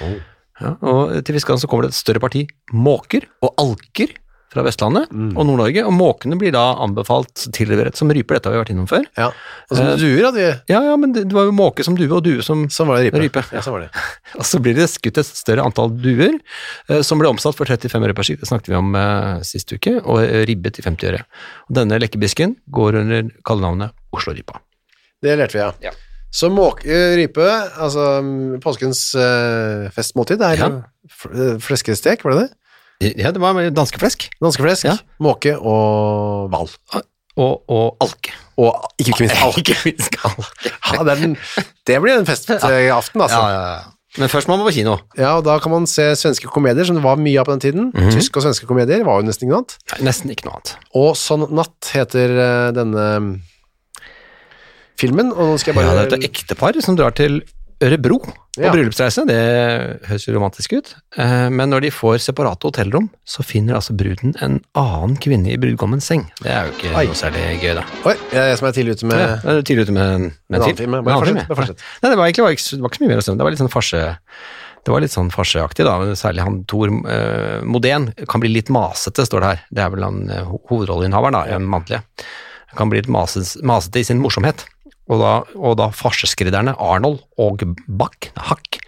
Oh. Ja, og eh, til Fiskan så kommer det et større parti måker og alker fra Vestlandet Mm. og Nord-Norge, og måkene blir da anbefalt tilleveret som ryper. Dette har vi vært innom før. Ja. Eh, Og som duer, da. De, Ja, ja, men det det var jo måke som due og due som sånn var det ripe. Rype, ja. Ja, sånn var det. Og så blir det skutt et større antall duer, eh, som ble omsatt for 35 øre per skikk, det snakket vi om eh, sist uke, og eh, ribbet i 50 øre. Og denne lekkebisken går under kallenavnet Oslo-rypa. Det lærte vi, ja. Ja. Så måke, eh, rype, altså mm, påskens eh, festmåltid, det er Ja. f- eh, fleskestek, var det det? Ja, det var med danskeflesk Danske flesk, Ja. måke og hval. og, og alke. Og ikke minst alk. Ikke minst alke. Ja, det, er den, det blir en fest eh, i aften, altså. Ja, ja, ja. Men først må man på kino. Ja, Mhm. og da kan man se svenske komedier, som det var mye av på den tiden. Tyske og svenske komedier var jo nesten ikke noe annet. Nei, nesten ikke noe annet. Og Sånn natt heter eh, denne mm, filmen, og nå skal jeg Ja, bare... det er et ektepar som drar til Ørebro på Ja. bryllupsreise, det høres jo romantisk ut, Eh, men når de får separate hotellrom, så finner altså bruden en annen kvinne i brudgommens seng. Det er jo ikke Ai. noe særlig gøy, da. Oi, jeg er jeg som er tidlig ute med... Ja, det er jo tidlig ute med Eh, en, med En en annen film. film, ja. En Bare annen film, fortsett, ja. bare fortsett. Nei, det var egentlig bare ikke, så- det var ikke så mye mer å si om det. Det var litt sånn farse... Det var litt sånn farseaktig, da. men Særlig han Tor eh, Modén kan bli litt masete, står det her. Det er vel han eh, ho- hovedrolleinnehaveren, da, en mannlig. Han kan bli litt mases, masete i sin morsomhet. Og da, og da farseskridderne Arnold og Bach, Hack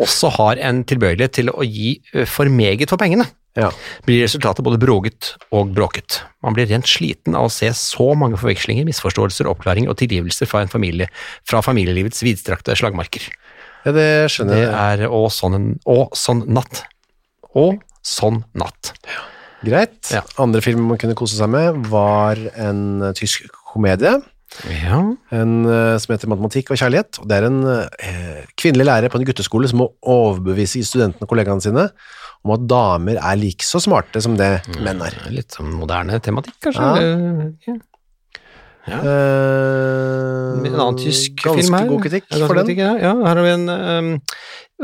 også har en tilbøyelighet til å gi eh, for meget for pengene Ja. blir resultatet både broget og bråket. Man blir rent sliten av å se så mange forvekslinger, misforståelser, oppklaringer og tilgivelser fra, en familie, fra familielivets vidstrakte slagmarker. ja, det skjønner Det jeg. er Å sånn, en- å, sånn natt. Å sånn natt. Greit. Ja. Andre film man kunne kose seg med var en eh, tysk komedie, Ja. en, eh, som heter Matematikk og kjærlighet, og det er en eh, kvinnelig lærer på en gutteskole som må overbevise studentene og kollegaene sine om at damer er like så smarte som det menn er. Litt sånn moderne tematikk, kanskje. Ja. eller- Ja. Eh, En annen tysk ganske film her. Ganske god kritikk Ja, ganske for god den. kritikk, ja. ja, her har vi en ehm,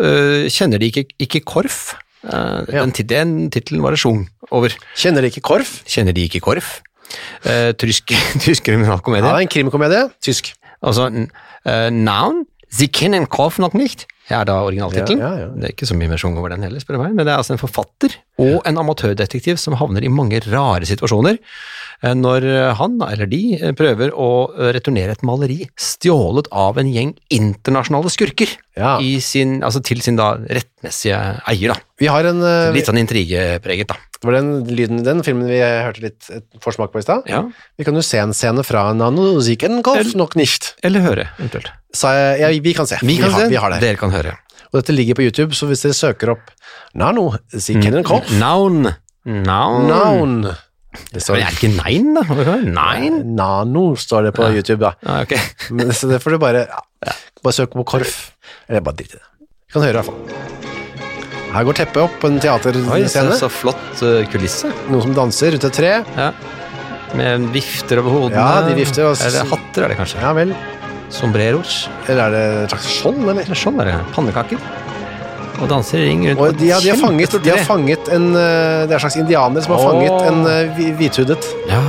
øh, Kjenner de ikke, ikke Korf? Eh, Ja. Den, tit- den tittelen var det sjung over. Kjenner dere ikke Korf? Kjenner de ikke Korf? Eh, tysk, tysk Ja, kriminalkomedie. det er en krimkomedie. Tysk. Altså, n- eh, Noun, Sie kennen Korf noch nicht, er da originaltittelen. Ja, ja, ja. Det er ikke så mye mer sjung over den heller, spør du meg. Men det er altså en forfatter og en amatørdetektiv som havner i mange rare situasjoner eh, når eh, han, eller de, eh, prøver å eh, returnere et maleri stjålet av en gjeng internasjonale skurker Ja. i sin, altså til sin da rettmessige eier, da. Vi har en eh, Litt sånn intrigepreget, da. Var den lyden i den filmen vi hørte litt et forsmak på i stad? Ja. Vi kan jo se en scene fra Nano Ziken Golf, nok nicht. Eller høre, eventuelt. Sa jeg, ja, vi kan se. har, se. vi har det. Dere kan høre. Og dette ligger på YouTube, så hvis dere søker opp Nano Ziken Mm. Golf Noun. Noun. Noun det Men står, er det ikke nein, da? Hva er det? Nein? Nano står det på YouTube, da. Ah, ok. Men, så det får du bare ja, Bare søke på Korf. Eller bare drit i det. Vi kan høre, i hvert fall. Her går teppet opp på en Oi, så, teaterscene. så flott eh, kulisse. Noen som danser rundt et tre. Ja. Med vifter over hodene. Ja, de vifter og- Eller hatter er det kanskje. Ja vel. Sombreros. Eller er det et slags skjold, eller? Eller sånn er det. Pannekaker. Og danser i ring rundt Og de, har- de, har fanget, Kjempestort de har tre. fanget en eh, Det er en slags indianer som har Åh. fanget en eh, hvi- hvithudet Ja,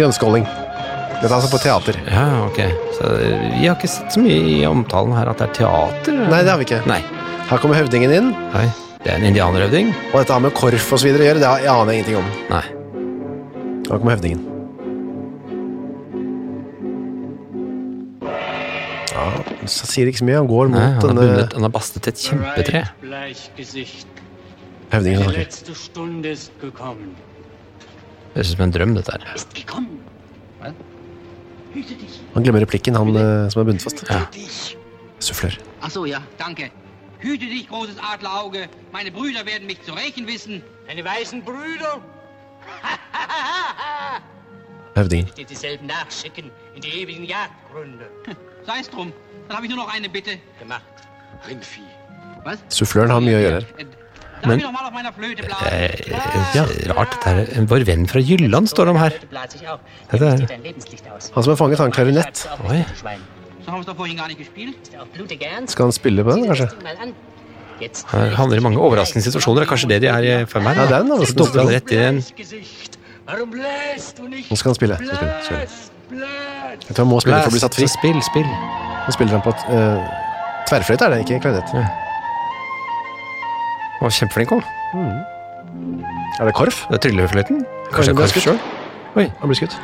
grønnskåling. Dette er altså på teater. ja, ok. Så eh, vi har ikke sett så mye i omtalen her at det er teater. Nei, det har vi ikke. Nei. Her kommer høvdingen inn, Nei. Det er en indianerøvding. og dette har med korf og så videre å gjøre, det har- jeg aner jeg ingenting om. Nei. Her kommer høvdingen. Ja, så sier det ikke så mye. Han går mot Nei han, har denne bundet, han har bastet et kjempetre. Bereit, Bleichgesicht, høvdingen. die som snakker. letzte Stunde ist gekommen. Høres ut som en drøm, dette her. Ist gekommen. Hüte dich, Han glemmer replikken, han eh, som er bundet fast. hüte dich. Suffler. Ach so, ja, danke. Hüte dich, großes Adlerauge. Meine Brüder werden mich zu rächen wissen. Meine weißen Brüder. Høvdingen. Die dieselben nachschicken in die ewigen Jagdgründe. Sei's Hm, drum. Dann habe ich nur noch eine Bitte. Gemacht. Rindvieh. Was? Suffløren har mye å gjøre. Äh, Darf Nein. ich noch mal auf meiner Flöte Det blasen? er eh, rart, dette her. Vår venn fra Jylland står de her. Blase ich auf. Ja, da. Jetzt geht dein Lebenslicht aus. Han som er fanget, har en klarinett. Bleib so auf, Oi. Schwein. So haben wir es doch vorhin gar nicht gespielt. Ist er auch blutig ernst? Skal han spille på Sieh den, dir das kanskje? Ding mal an. Jetzt Her handler det mange overraskende situasjoner. Det er kanskje det de er i femmeren. Ja, det er en Så overraskende dumper han rett i en Gesicht. Warum bläst du nicht? Nå skal han spille. Skal spille. Skal spille. Bläst, bläst. Jeg tror han må spille for å bli satt fri. Så Spill, spill. Nå spiller han på et eh, Tverrfløyte er det, ikke klarinett. Å, kjempeflink òg. Er det korf? Det er tryllefløyten. Kanskje Oi, jeg nå ble kan jeg skutt. selv. Oi. Han blir skutt.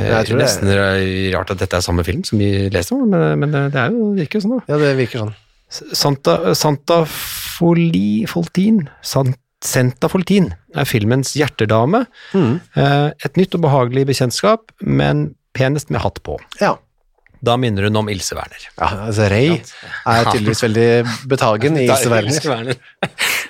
Det Hm. jeg tror er det er- Eh, nesten rart at dette er samme film som vi leste om, men, men det er jo, det virker jo sånn, da. Ja, det virker sånn. Santa, Santa Foli, Foltin Sant, Santa Foltin er filmens hjertedame. Eh, Et nytt og behagelig bekjentskap, men penest med hatt på. Ja. Da minner hun om Ilse Werner. ja altså, Ray er tydeligvis veldig betagen i Ilse Werner.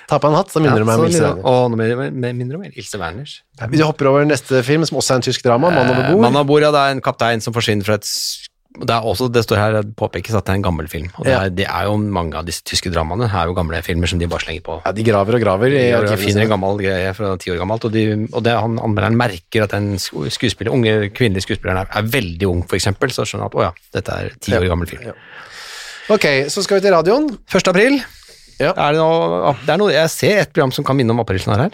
Ta på en hatt, så minner du meg om Ilse Werner. Og nå minner det minner om Ilse Werners. Vi hopper over neste film, som også er en tysk drama, 'Mann over Eh, bord'. Mann over bord, ja, det er en kaptein som forsvinner fra et s- det er også, det står her, det påpekes at det er en gammel film. Og det Ja. er, det er jo mange av disse tyske dramaene, er jo gamle filmer som de bare slenger på. Ja, de graver og graver i Jeg arkivene finner en sine. gammel greie fra ti år gammelt, og, de, og det, han anmelderen merker at den sku- skuespiller, unge kvinnelige skuespilleren er, er veldig ung, for eksempel, så skjønner han at å ja, dette er ti år gammel film. Ok, så skal vi til radioen. 1. april, Ja. er det, noe, det er noe, jeg ser et program som kan minne om aprilsnarr her,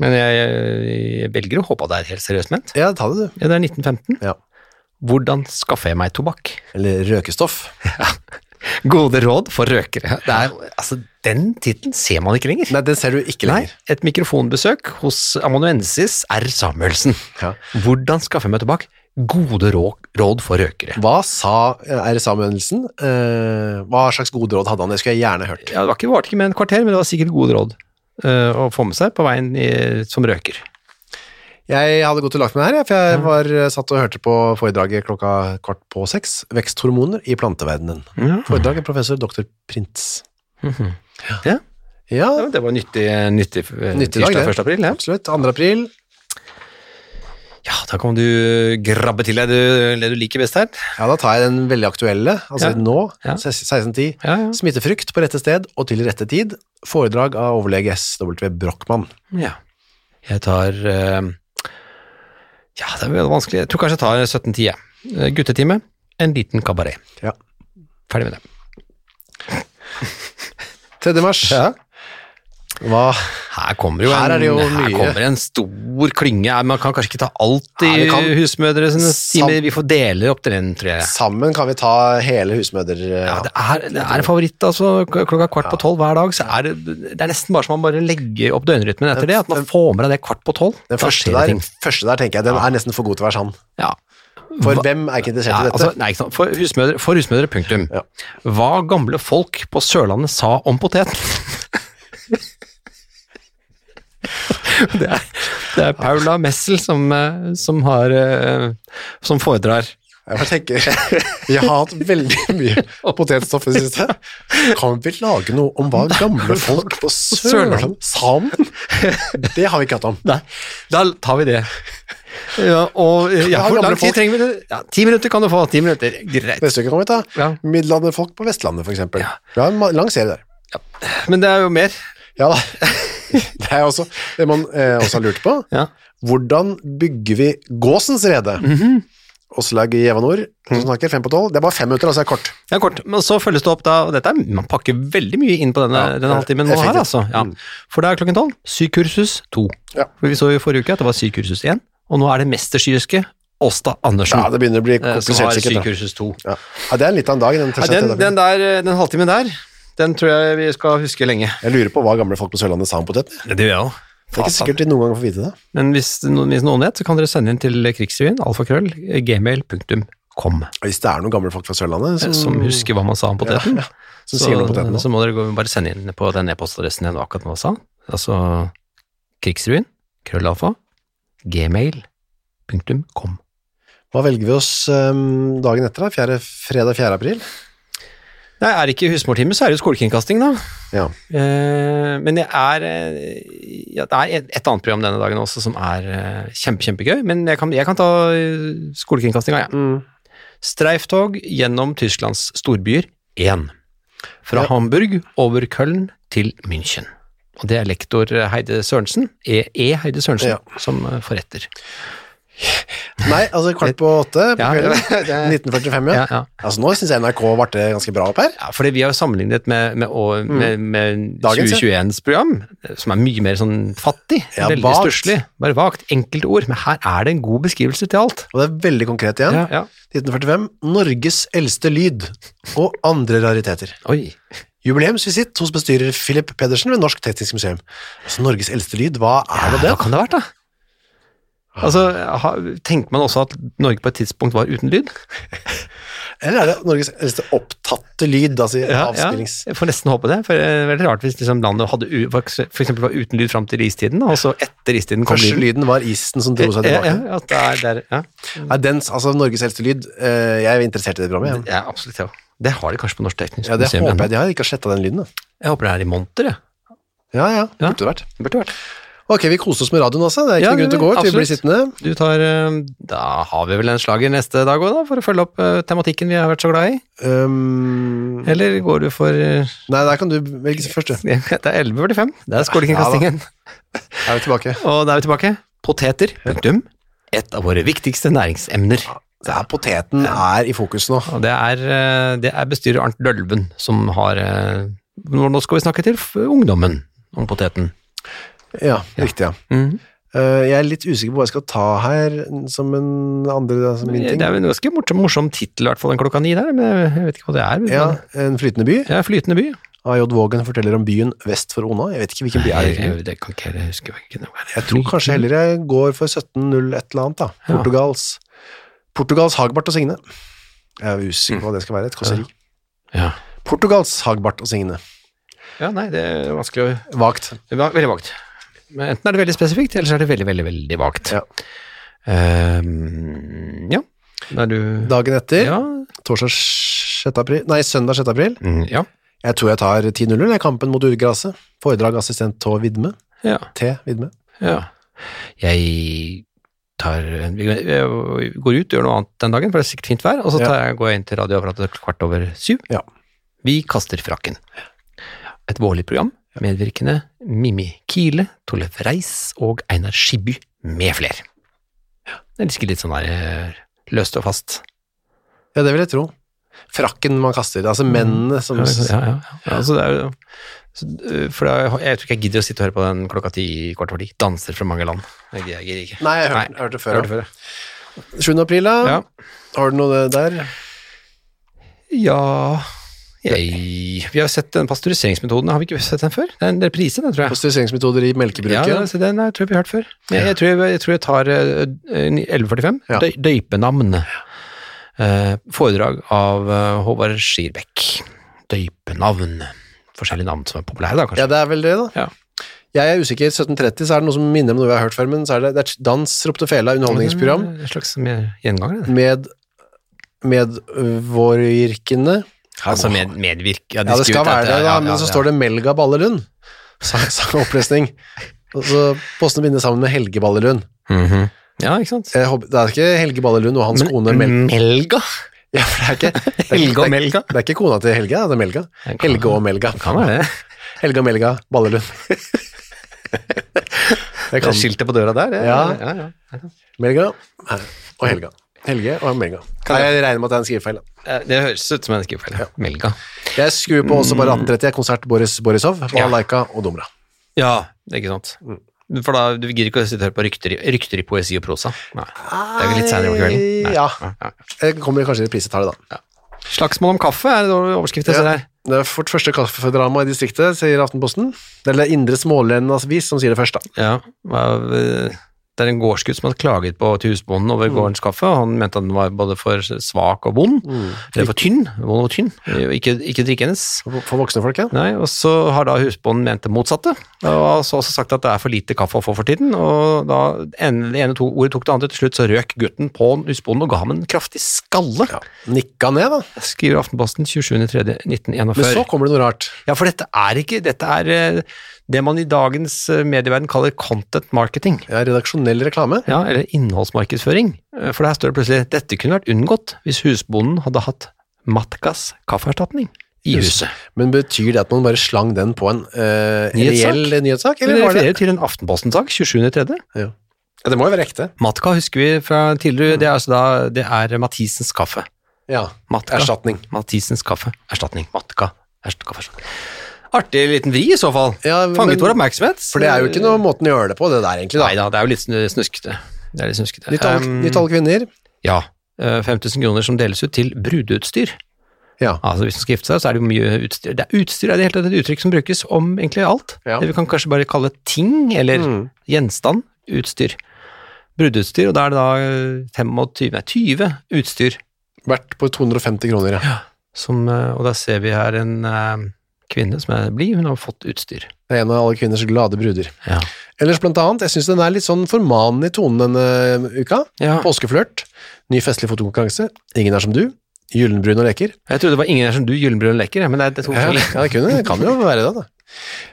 men jeg, jeg velger å håpe at det er helt seriøst ment. Ja, ta det, du. Ja, det er 1915. Ja. Hvordan skaffer jeg meg tobakk? Eller røkestoff. Gode råd for røkere. Det er, altså, den tittelen ser man ikke lenger. Nei, den ser du ikke Nei, lenger. et mikrofonbesøk hos amanuensis R. Samuelsen. Ja. Hvordan skaffe meg tobakk? Gode rå- råd for røkere. Hva sa R. Samuelsen? Eh, hva slags gode råd hadde han? Det skulle jeg gjerne hørt. Ja, det var ikke, varte ikke med en kvarter, men det var sikkert gode råd eh, å få med seg på veien i, som røker. Jeg hadde gått og lagt meg her, jeg, for jeg var eh, satt og hørte på foredraget klokka kvart på seks. Veksthormoner i planteverdenen. Ja. Foredraget professor dr. Printz. Mhm. Ja. Ja, Ja, det var nyttig, nyttig, eh, Nyttig dag, tirsdag det. 1. april. Ja. absolutt. 2. april. ja, da kan du grabbe til deg det- det du liker best her. Ja, da tar jeg den veldig aktuelle, altså Ja. nå, Ja. 1610. Ja, ja. Smittefrykt på rette sted og til rette tid. Foredrag av overlege SW Brochmann. Ja. Jeg tar eh, Ja, det er veldig vanskelig. Jeg tror kanskje jeg tar 1710. jeg. Eh, Guttetime, en liten kabaret. Ja. Ferdig med det. 3. mars. Hva? Her kommer jo Her er det jo en, her mye. kommer en stor klynge. Nei, Man kan kanskje ikke ta alt i Nei, vi kan- husmødre sine Sam- timer. Vi får dele opp til den, tror jeg. Sammen kan vi ta hele eh, husmødre... Ja, det, er, det er en favoritt, altså. K- Klokka kvart på tolv hver dag, så er det, det er nesten bare som man bare legger opp døgnrytmen etter det. At man får med deg det kvart på tolv. Den Da første skjer det der, ting. første der, tenker jeg, den er nesten for god til å være sann. Ja. For Hva- hvem er ikke interessert Nei, i dette? altså, nei, ikke sant. For husmødre, for husmødre punktum. Ja. Hva gamle folk på Sørlandet sa om poteten. det, er, det er Paula Messel som, eh, som, har, eh, som foredrar. Jeg bare tenker, vi har hatt veldig mye potetstoff i det siste. Kan vi lage noe om hva gamle folk på Sørlandet sa om den? Det har vi ikke hatt om. Nei, da tar vi det. Ja, og eh, ja, Ja, hvor gamle lang tid folk. trenger vi? det? Ja, ti minutter kan du få. Ti minutter, greit. Neste uke kan vi ta Ja. middelalderfolk på Vestlandet, for eksempel. Vi har en ma- lang serie der. Men det er jo mer. Ja da. Det er også det man eh, også har lurt på. Ja. Hvordan bygger vi gåsens rede? Mhm. Åslag i Evanor, som snakker, fem på tolv. Det er bare fem minutter, altså det er kort. Ja, kort. Men så følges det opp da, og dette er, man pakker veldig mye inn på denne, Ja, denne halvtimen nå her, effektivt. altså. Ja. Mm. For da er klokken tolv, sykursus to. Ja. For vi så jo i forrige uke at det var sykursus én, og nå er det mestersyrske Åsta Andersen Ja, det begynner å bli eh, som komplisert har sikkert. da. sykursus to. Ja. ja, det er litt av en dag, den Ja, 13. den, dagen. den, der, eh, den halvtimen der, den tror jeg vi skal huske lenge. Jeg lurer på hva gamle folk på Sørlandet sa om potet. Det gjør jeg òg. Det er ikke sikkert de noen gang får vite det. Men hvis, noen- hvis noen vet, så kan dere sende inn til krigsrevyen, alfakrøll, gmail.com, Hvis det er noen gamle folk fra Sørlandet Eh, som, som husker hva man sa om poteten. som så, eh, sier noe om poteten nå. så må dere gå, bare sende inn på den e-postadressen jeg nå akkurat nå sa. Altså krigsruin, krøllalfa, gmail.com. Hva velger vi oss ehm, dagen etter, da? Fjerde, fredag 4. april? Nei, er det ikke husmortime, så er det jo skolekringkasting, da. Ja. Eh, men det er, eh, ja, det er et, et annet program denne dagen også som er eh, kjempe, kjempegøy. Men jeg kan, jeg kan ta eh, skolekringkastinga, jeg. Mm. Streiftog gjennom Tysklands storbyer 1. Fra Ja. Hamburg over Köln til München. Og det er lektor Heide Sørensen, E. E. Heide Sørensen, Ja. som eh, forretter. Nei, altså kvart på åtte på Ja, kvelden. det- det- 1945, ja. Ja, ja. Altså nå synes jeg NRK varte ganske bra opp her. Ja, fordi vi har jo sammenlignet med, med, å- med, med Mm. Dagens, ja. 2021s program, som er mye mer sånn fattig, Ja, veldig vagt. stusslig, bare vagt, enkelte ord, men her er det en god beskrivelse til alt. Og det er veldig konkret igjen. Ja, ja. 1945, Norges eldste lyd og andre rariteter. Oi. Jubileumsvisitt hos bestyrer Philip Pedersen ved Norsk Teknisk Museum. Altså Norges eldste lyd, hva er det Ja, det? hva kan det ha vært, da? Altså, ha, Tenkte man også at Norge på et tidspunkt var uten lyd? Eller er det Norges eldste opptatte lyd, altså i avspillings... Jeg får nesten håpe det. for eh, Det er veldig rart hvis liksom landet hadde u, for eksempel var uten lyd fram til istiden, og så etter istiden kom Første lyden. lyden var isen som dro seg Ja, tilbake. ja, ja, det er, det er, ja. Nei, dens, altså Norges eldste lyd, eh, jeg er interessert i det programmet. Jeg. ja, absolutt. Ja. Det har de kanskje på Norsk Teknisk Ja, det Museum håper ennå. jeg de har, ikke har slettet den lyden. da. Jeg håper det er i monter, jeg. Ja, ja, Ja. burde det vært. Burde vært. Ok, vi koser oss med radioen altså, det er ikke Ja, noen grunn til å gå ut, vi absolutt. blir sittende. Du tar eh, Da har vi vel en slager neste dag òg, da, for å følge opp eh, tematikken vi har vært så glad i? Um, Eller går du for eh, nei, der kan du velge først, du. Det er 11.45. Det er skolekringkastingen. Er vi tilbake? Og da er vi tilbake. Poteter. Punktum. Et av våre viktigste næringsemner. Det er poteten er i fokus nå. Og det er, eh, det er bestyrer Arnt Dølven som har eh, Nå nå skal vi snakke til f- ungdommen om poteten. Ja, riktig, ja. Mhm. Eh, jeg er litt usikker på hva jeg skal ta her, som en andre, som min Det ting. er jo en ganske morsom, morsom tittel, i hvert fall den klokka ni der, men jeg vet ikke hva det er. men- Ja, en flytende by. Ja, Flytende by. A.J. Vågen forteller om byen vest for Ona. Jeg vet ikke hvilken by er det. egentlig. det kan ikke jeg huske. hva- hva er det? Jeg tror kanskje heller jeg går for 17-0 et eller annet, da. Ja. Portugals. Portugals Hagbart og Signe. Jeg er usikker på Mm. hva det skal være, et kåseri. Ja. Portugals Hagbart og Signe. ja, nei, det er vanskelig å Vagt. Det var Veldig vagt. Men enten er det veldig spesifikt, eller så er det veldig, veldig, veldig vagt. Ja. Ehm, ja. Da er du Dagen etter, Ja. torsdag 6. april, nei, søndag 6. april, Mm, ja. jeg tror jeg tar 10-0, det er kampen mot Urgraset. Foredrag assistent T. Vidme. ja. T. Vidme. Ja. Jeg tar en, jeg går ut, gjør noe annet den dagen, for det er sikkert fint vær, og så tar jeg, går jeg inn til radioapparatet kvart over syv. Ja. Vi kaster frakken. Et vårlig program, medvirkende Mimmi Kile, Tollef Reis og Einar Skibby med fler. Jeg elsker litt sånn der eh, løst og fast. Ja, det vil jeg tro. Frakken man kaster, altså mennene som Mm. Ja, ja, ja. ja altså det er, jo- så, øh, for da, jeg tror ikke jeg gidder å sitte og høre på den klokka ti, kvart over ti. Danser fra mange land. Jeg gidder jeg gidder ikke. Nei, jeg hørte, Nei, hørte det Jeg før. hørte ja. før, 7. april, da. ja. Har du noe der? Ja jeg, Vi har sett den pasteuriseringsmetoden. Har vi ikke sett den før? Det er en reprise, den, tror jeg. Pasteuriseringsmetoder i melkebruket? Ja, så den har- tror jeg vi har hørt før. Men jeg, jeg, tror jeg, jeg tror jeg tar eh, eh, 11.45. Ja. Døy- Døypenamn. Eh, foredrag av eh, Håvard Skirbekk. Døypenavn. Forskjellige navn som er populære, da, kanskje. Ja, det er vel det, da. Ja. Jeg er usikker. 1730 så er det noe som minner om noe vi har hørt før, men så er det, det er Dans ropte fela, underholdningsprogram, Eh, En slags mer gjenganger, det. med, med øh, våryrkende Altså med, medvirk... Ja, det skal være det, da, men så står det Melga Ballerund. Sang sang- opplesning. Og så postene bindes sammen med Helge Ballerund. Mhm. Ja, ikke sant? Jeg håper, det er ikke Helge Ballerund og hans kone Mel... Melga? Ja, for det er ikke, det er, Mm. Helge ikke- og Melga? det er ikke kona til Helge, det er Melga. Det kan- Helge og Melga. Kan være det. Helge og Melga Ballerund. Det Det er skiltet på døra der. det- Ja. ja, ja. Melga her, og Helga. Helge og Melga. Nei, jeg regner med at det er en skrivefeil. da. Eh, Det høres ut som en skrivefeil. Ja. Melga. Jeg skrur på også bare 18.30, jeg konsert Boris Borisov, Malaika og Domra. Ja, Mm. det er ikke sant. For da, du gidder ikke å sitte og høre på rykter, i- rykter i poesi og prosa. Nei. Det er jo litt senere om kvelden. Nei. Ja. ja. Jeg kommer kanskje i reprisetallet da. Slagsmål om kaffe er det overskrift jeg Ja. ser her. Det er fort første kaffedrama i distriktet, sier Aftenposten. Eller Indre Smålendas Vis som sier det først, da. Ja, hva- eh, det er en gårdsgutt som har klaget på til husbonden over Mm. gårdens kaffe. og Han mente at den var både for svak og vond. Mm. Eller for tynn. Vond og tynn. Ikke, ikke drikkendes. For- For voksne folk, ja. Nei, og så har da husbonden ment det motsatte, og har så også sagt at det er for lite kaffe å få for tiden, og da en- det ene to, ordet tok det andre, til slutt så røk gutten på husbonden og ga ham en kraftig skalle, Nikka ned, da. skriver Aftenposten 27.3.1941. Men så kommer det noe rart. Ja, for dette er ikke, dette er eh, det man i dagens eh, medieverden kaller content marketing. Ja, redaksjonell reklame. Ja, eller innholdsmarkedsføring. Eh, For der står det plutselig dette kunne vært unngått hvis husbonden hadde hatt Matkas kaffeerstatning i huset. Men betyr det at man bare slang den på en eh, Nyhetssak? reell nyhetssak? Det Eller var det refererer til en Aftenposten-sak 27.3. Ja. Ja, det må jo være ekte. Matka husker vi fra tidligere, det er, altså da, det er Mathisens kaffe. Ja. Matka. Erstatning. Mathisens kaffe. Erstatning. Matka. Erst- kaffeerstatning. Artig liten vri i så fall. Ja, men- Fanget vår oppmerksomhet. For det er jo ikke noe måten å gjøre det på, det der egentlig. Nei da. da, det er jo litt snu- snuskete. Det er litt snuskete. Nytt alle, Um, nytt alle kvinner. Ja. Eh, 5000 kroner som deles ut til brudeutstyr. Ja. Altså Hvis man skal gifte seg, så er det jo mye utstyr. Det er utstyr er det hele tatt et uttrykk som brukes om egentlig alt. Ja. Det vi kan kanskje bare kalle ting, eller Mm. gjenstand, utstyr. Brudeutstyr, og da er det da eh, 25, nei, 20 utstyr Verdt på 250 kroner, ja. som eh, Og da ser vi her en eh, kvinne som er blid, hun har fått utstyr. Det er en av alle kvinners glade bruder. Ja. Ellers blant annet, jeg synes den er litt sånn formanende i tonen denne eh, uka. Ja. Påskeflørt, ny festlig fotokonkurranse, ingen er som du, gyllenbrun og leker. Jeg trodde det var ingen her som du, Gyllenbrun leker, men det er, det er to Ja, forskjellige. ja, det, kunne, det kan jo være det da.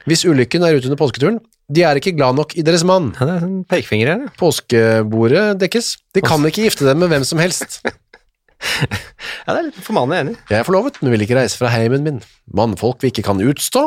Hvis ulykken er ute under påsketuren, de er ikke glad nok i deres mann. Ja, det er sånn pekefinger her. ja. Påskebordet dekkes. De kan ikke gifte dem med hvem som helst. Ja, det er litt formannende enig. Jeg er forlovet, men vil ikke reise fra heimen min. Mannfolk vi ikke kan utstå.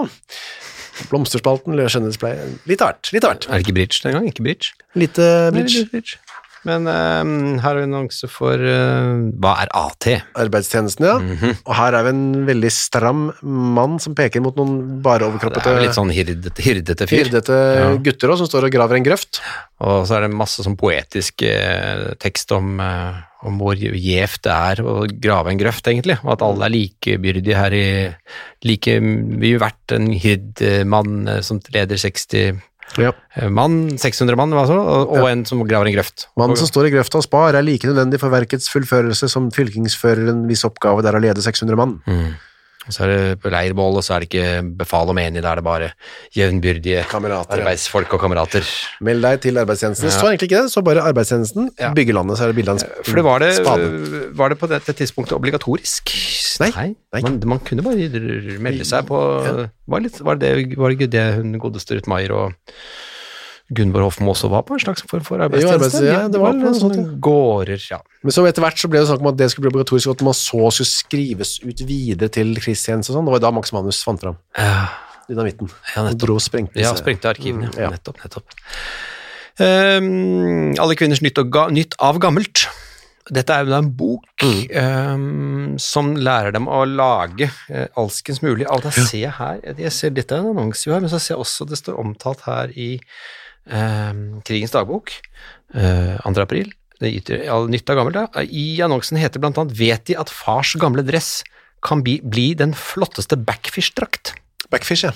Blomsterspalten, løskjennespleie. Litt av hvert, litt av hvert. Eh, Er det ikke bridge den gang? Ikke bridge. Lite Nei, bridge. det er bridge. Men eh, her er en annonse for eh, Hva er AT? Arbeidstjenesten, ja. Mhm. Og her er vi en veldig stram mann som peker mot noen bare Det er jo litt overkroppete, sånn hirdete, hirdete fyr. hyrdete Ja. gutter også, som står og graver en grøft. Og så er det masse sånn poetisk eh, tekst om, eh, om hvor gjevt det er å grave en grøft, egentlig. Og at alle er likebyrdige her i like mye verdt en hyrdmann eh, som leder 60 Ja. eh, mann, 600 mann, hva så, og, og en som graver en grøft. Mannen Og- som står i grøfta og spar er like nødvendig for verkets fullførelse som fylkingsføreren viss oppgave der å lede 600 mann. Mm. Og så er det på leirbål, og så er det ikke befal og menig, da er det bare jevnbyrdige Kamerater, ja. arbeidsfolk og kamerater. Meld deg til arbeidstjenesten. Det står egentlig ikke det, så bare arbeidstjenesten. Ja. Byggelandet, så er det bilde av en For det var det, spade. var det på dette tidspunktet obligatorisk? Nei, nei. Man, man kunne bare r- melde seg på var, litt, var, det, var det ikke det hun godeste Ruth Maier og Gunvor Hofmo også var på? En slags form for arbeids- arbeidstjeneste? ja, det var på noe sånne sånt, ja. gårder, ja. Men så etter hvert så ble det snakk om at det skulle bli obligatorisk, og at man så skulle skrives ut videre til Christians og sånn. Det var da Max Manus fant fram Ja. dynamitten. Ja, og nettopp. dro og sprengte Ja, disse- sprengte arkivene. Mm, ja. Nettopp, nettopp. Ehm, alle kvinners nytt, og ga nytt av gammelt. Dette er jo da en bok Mm. ehm, som lærer dem å lage eh, alskens mulig. Alt jeg ser her, jeg ser, Dette er en annonse jo her, men så ser jeg også det står omtalt her i ehm, Krigens dagbok, eh, 2. april. Det yter, all, nytt av gammelt, da. I annonsen heter blant annet 'Vet de at fars gamle dress kan bli, bli den flotteste backfish-drakt'? Backfish, ja.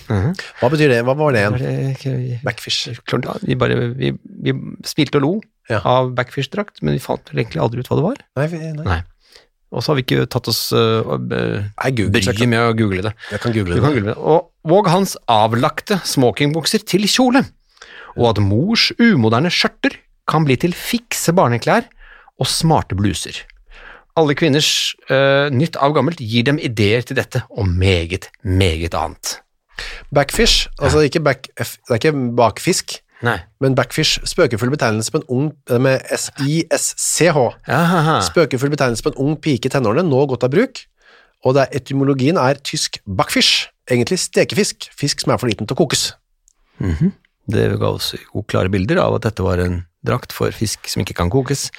Hva betyr det? Hva var det Mhm. Er igjen? det- Backfish. Klart, ja, vi, bare, vi, vi smilte og lo Ja. av backfish-drakt, men vi fant vel egentlig aldri ut hva det var. Nei, vi- nei. Nei. Og så har vi ikke tatt oss øh, og, øh, Jeg googler, så jeg bryet kan- med å google det. jeg kan google Du det. kan google det. Og, og hans avlagte smokingbukser til kjole, og at mors umoderne skjørter kan bli til fikse barneklær og smarte bluser. Alle kvinners øh, nytt av gammelt gir dem ideer til dette og meget, meget annet. Backfish, altså ikke back, f- det er ikke bakfisk, Nei. men backfish, spøkefull betegnelse på en ung, eh, med S-I-S-C-H, Aha. spøkefull betegnelse på en ung pike i tenårene, nå godt av bruk, og det er, etymologien er tysk backfish, egentlig stekefisk, fisk som er for liten til å kokes. Det ga oss jo klare bilder av at dette var en drakt for fisk som ikke kan kokes.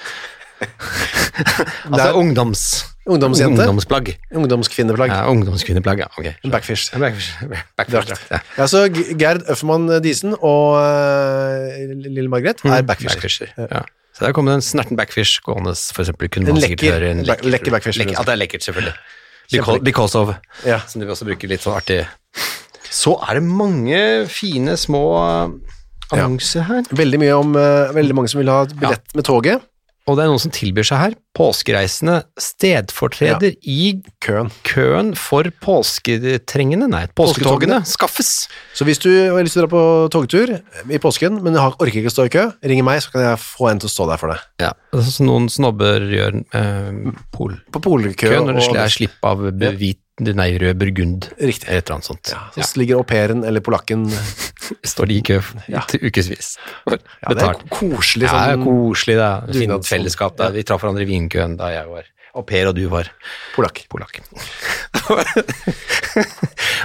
altså Det er- ungdoms... Ungdomsjente, Ungdomsplagg. ungdomskvinneplagg, Ja, ungdomskvinneplagg, ja. Ok. backfish. Backfish-drakt. Ja. Ja, så G- Gerd Øffermann Disen og eh, Lille Margret er backfish. Mm, Backfisher, ja. Så der kom det en snerten backfish gående, for eksempel. Kunne En man sikkert lekker- høre en back- lekker backfish, Lekker- liksom. At det er lekkert, selvfølgelig. Because, because of. Ja. Som du også bruker litt sånn artig. Så er det mange fine små annonser her. Veldig mye om, eh, veldig mange som vil ha et billett med toget. Og det er noen som tilbyr seg her, påskereisende stedfortreder i Køen. køen for påsketrengende, nei, påsketogene, skaffes. Så hvis du har lyst til å dra på togtur eh, i påsken, men har, orker ikke å stå i kø, ring meg, så kan jeg få en til å stå der for deg. Ja, det er sånn som noen snobber gjør eh, polkø På polkø når og de slipper slipp av be- hvit, nei, rød burgund, Riktig. eller et eller annet sånt. Ja, så ligger au pairen eller polakken Står de i kø i t- ukevis. ja, Det er Betalt. koselig Det sånn er koselig, det er Dugnadsfond. fint fellesskap. Da. Vi traff hverandre i vinkøen da jeg var au pair og du var polakk. polakk.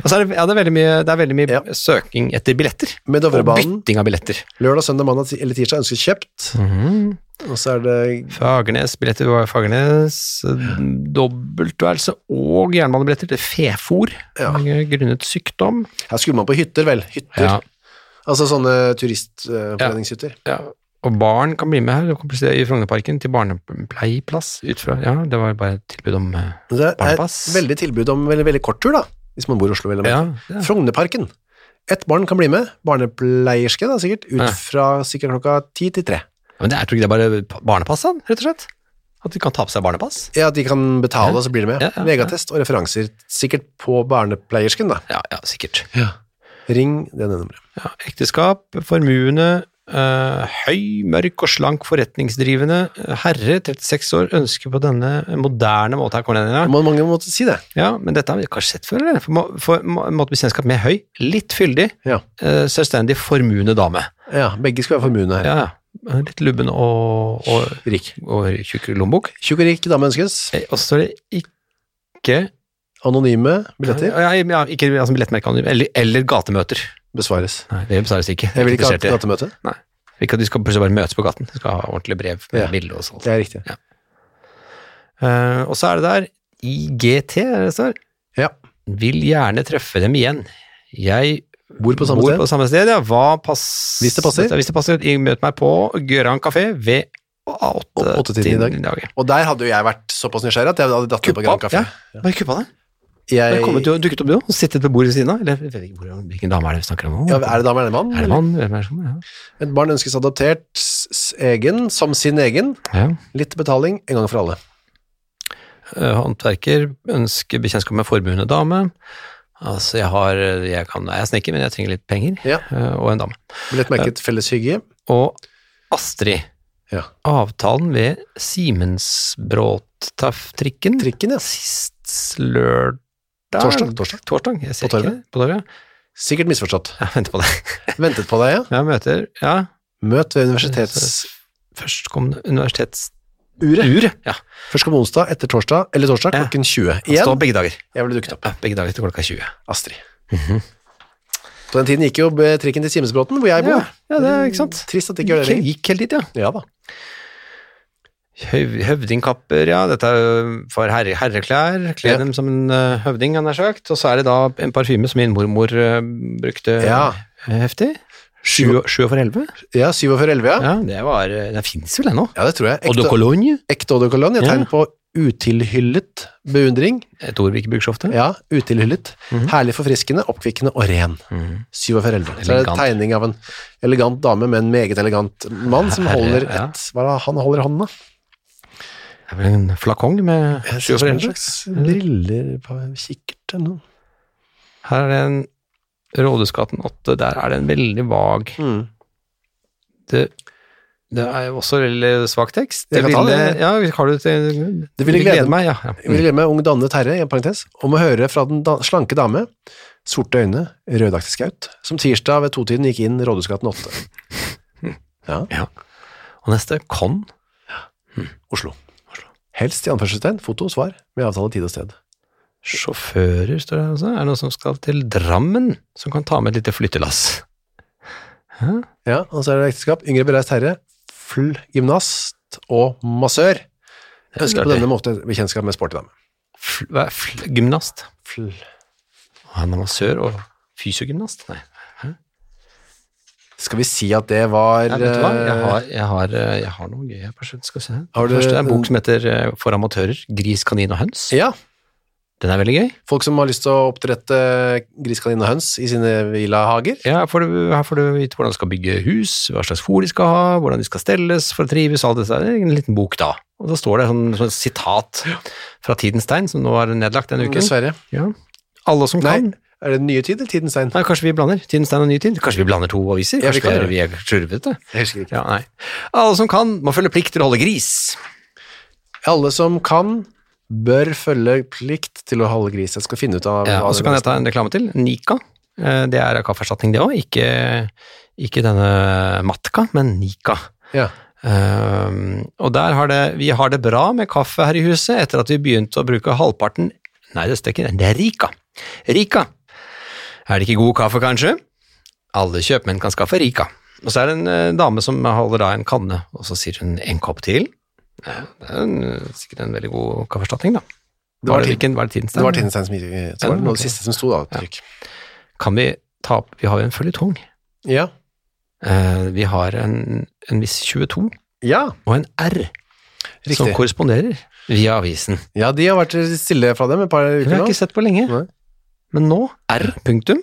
Og så er det, ja, det er veldig mye, det er veldig mye Ja. søking etter billetter. Med Og Dovrebanen. bytting av billetter. Lørdag, søndag, mandag ti- eller tirsdag ønsket kjøpt. Mhm. Og så er det Fagernes, billetter var Fagernes, dobbeltværelse og jernbanebilletter til Fefor, Ja. grunnet sykdom. Her skulle man på hytter, vel. Hytter. Ja, Altså sånne turistforeningshytter. ja. Og barn kan bli med her, det kan plutselig- i Frognerparken, til barnepleieplass ut fra. Ja, det var bare et tilbud om eh, Det er Barnepass. veldig tilbud om veldig, veldig kort tur, da. Hvis man bor i Oslo, vel. å merke. Ja, ja. Frognerparken. Ett barn kan bli med. Barnepleierske, da, sikkert. Ja. Ut fra sikkert klokka ti til tre. Men det er, tror du ikke det er bare barnepass, da, rett og slett? At de kan ta på seg barnepass? Ja, at de kan betale, Ja. og så blir de med. Ja, ja, Legeattest og referanser. Sikkert på barnepleiersken, da. Ja, ja, sikkert. Ring det nummeret. Ja, ekteskap, formuende, eh, høy, mørk og slank forretningsdrivende, eh, herre, 36 år, ønsker på denne moderne måten her, Cornelia. Må- Mange måtte si det. Ja, men dette har vi kanskje sett før, eller? For, må- for må- måtte bli selskap med høy, litt fyldig, Ja. eh, selvstendig, formuende dame. ja begge skulle være formuende her. Ja, ja. Litt lubben og, og, Rik. og tjukk lommebok. Tjukk og rik dame ønskes. Eh, Og så er det ikke Anonyme billetter Ja, ja, ja, ikke altså, billettmerke anonym, eller, eller gatemøter. besvares. Nei, det besvares ikke. Jeg vil ikke ha Interessert i et det. gatemøte. Ikke at de skal plutselig bare møtes på gaten. De skal ha ordentlige brev med Ja. bilde og sånt. Det er riktig. Eh, og så er det der IGT, er det det står? Ja. Vil gjerne treffe dem igjen. Jeg Bor på samme sted. på samme sted, ja. Hva pass... Hvis det passer. Hvis det passer. I- Møt meg på Gøran kafé ved åtte- åttetiden i dag. ja. Og der hadde jo jeg vært såpass nysgjerrig at jeg hadde datt ned på Kuppa Grand opp, Café. Bare kuppa det. Jeg, Jeg... Kommet, du dukket opp, du òg. Sittet ved bordet ved siden av. Eller jeg vet ikke hvor- hvilken dame er det vi snakker om nå? ja, er det dame eller mann? Er det mann? Hvem er det som ja. Et barn ønskes adoptert s- s- egen, som sin egen. ja. Litt betaling, en gang for alle. Eh, Håndverker. Ønsker bekjentskap med formuende dame. Altså, jeg har Jeg, kan, jeg er snekker, men jeg trenger litt penger. Ja. Eh, Og en dame. Billett merket felles hygge. Og Astrid. Ja. Avtalen ved Simensbråttaff-trikken Trikken, ja. sist lørdag Torsdag, torsdag. Torsdag, Jeg ser På torvet. ikke det. På torvet. ja. Sikkert misforstått. Jeg venter på det. Ventet på deg, ja. Jeg møter ja, Møt ved universitets... førstkommende universitetsuret. Uret. Ja. Først kom onsdag, etter torsdag, eller torsdag, Ja. klokken 20. Stå Igjen, begge dager. jeg ble dukket opp. Ja, Begge dager til klokka 20. Astrid. Mhm. På den tiden gikk jo eh, trikken til Simensbråten, hvor jeg bor. Ja, ja, det er ikke sant. Trist at det ikke gjør det Gikk, lenger. gikk helt dit, ja. Ja da. Høv, høvdingkapper, ja. Dette er jo for herre, herreklær. Kle Ja. dem som en eh, høvding, han er sagt. Og så er det da en parfyme som min mormor eh, brukte Ja. eh, heftig. Sju- Sju sju over elleve? Ja, 47-11, ja. Ja, det var eh, Den fins vel ennå? Ja, det tror jeg. Eau de Ekte- Cologne? Ekte Odde Cologne, et Ja. tegn på utilhyllet beundring. Et ord vi ikke bruker så ofte. Ja, utilhyllet. Herlig forfriskende, oppkvikkende og ren. Mhm. 47 Så er det Elegant. en tegning av en elegant dame med en meget elegant mann som Herre, holder ja. et Hva er det han holder i hånda? Det er vel En flakong med sju over En elleve? slags briller på kikkert eller noe. Her er det en Rådhusgaten 8. Der er det en veldig vag Det, det er jo også veldig svak tekst. Jeg kan ta det. Ja, har du til Det ville glede- meg, ja. ja. Jeg vil glemme ung dannet herre, i en parentes, om å høre fra den da slanke dame, sorte øyne, rødaktig skaut, som tirsdag ved totiden gikk inn Rådhusgaten 8, Og neste, Con. Oslo. Helst i anførselstegn, foto, svar, med avtale tid og sted. Sjåfører, står det her også. Er det noen som skal til Drammen, som kan ta med et lite flyttelass? Ja, og så er det ekteskap. Yngre bereist herre, full gymnast og massør. Jeg ønsker på artig. denne måten et bekjentskap med sporty dame. Fl, hva er fl, gymnast? Ah, Full. Han er massør og fysiogymnast? Nei. Skal vi si at det var Nei, vet du hva? Jeg eh, har, jeg har, eh, jeg har noe gøy her på slutten. Skal vi se. Har det du- første er en bok som heter eh, For amatører. Gris, kanin og høns. Ja, Den er veldig gøy. folk som har lyst til å oppdrette gris, kanin og høns i sine villahager. Ja, her, får du, her får du vite hvordan du skal bygge hus, hva slags fôr de skal ha, hvordan de skal stelles for å trives, alt dette. Det er en liten bok da. Og da står det sånn, sånn et sitat fra Tidens Tegn, som nå er nedlagt denne uken. Dessverre. Ja. Alle som Nei, Mm. kan. er det den nye tid eller tidens tegn? Nei, kanskje vi blander. Tidens Tegn og Ny Tid. Kanskje vi blander to aviser? Ja, vi Kanskje vi kan er, gjøre vi er slurvete? Jeg husker ikke. Ja, nei. Alle som kan, må følge plikt til å holde gris. Alle som kan, bør følge plikt til å holde gris. Jeg skal finne ut av Ja, hva og så det kan er. jeg ta en reklame til. Nika. Eh, Det er kaffeerstatning, det òg. Ikke, ikke denne Matka, men Nika. Ja. Ehm, Um, og der har det Vi har det bra med kaffe her i huset etter at vi begynte å bruke halvparten Nei, det er ikke det. Det er Rika. Rika. Er det ikke god kaffe, kanskje? Alle kjøpmenn kan skaffe Rika. Og så er det en eh, dame som holder da en kanne, og så sier hun en kopp til. Ja, det er en, eh, sikkert en veldig god kaffeerstatning, da. var Var det, Tin- hvilken, var det Det Tinstein? var Tinnestein som gikk Det var noe av det siste som sto da, trykk. Kan vi ta opp Vi har jo en føljetong. Ja. Eh, vi har en, en viss 22 Ja, og en R som riktig. korresponderer via avisen. Ja, de har vært stille fra dem et par Vi uker har nå. ikke sett på lenge. Nei. Men nå, R punktum,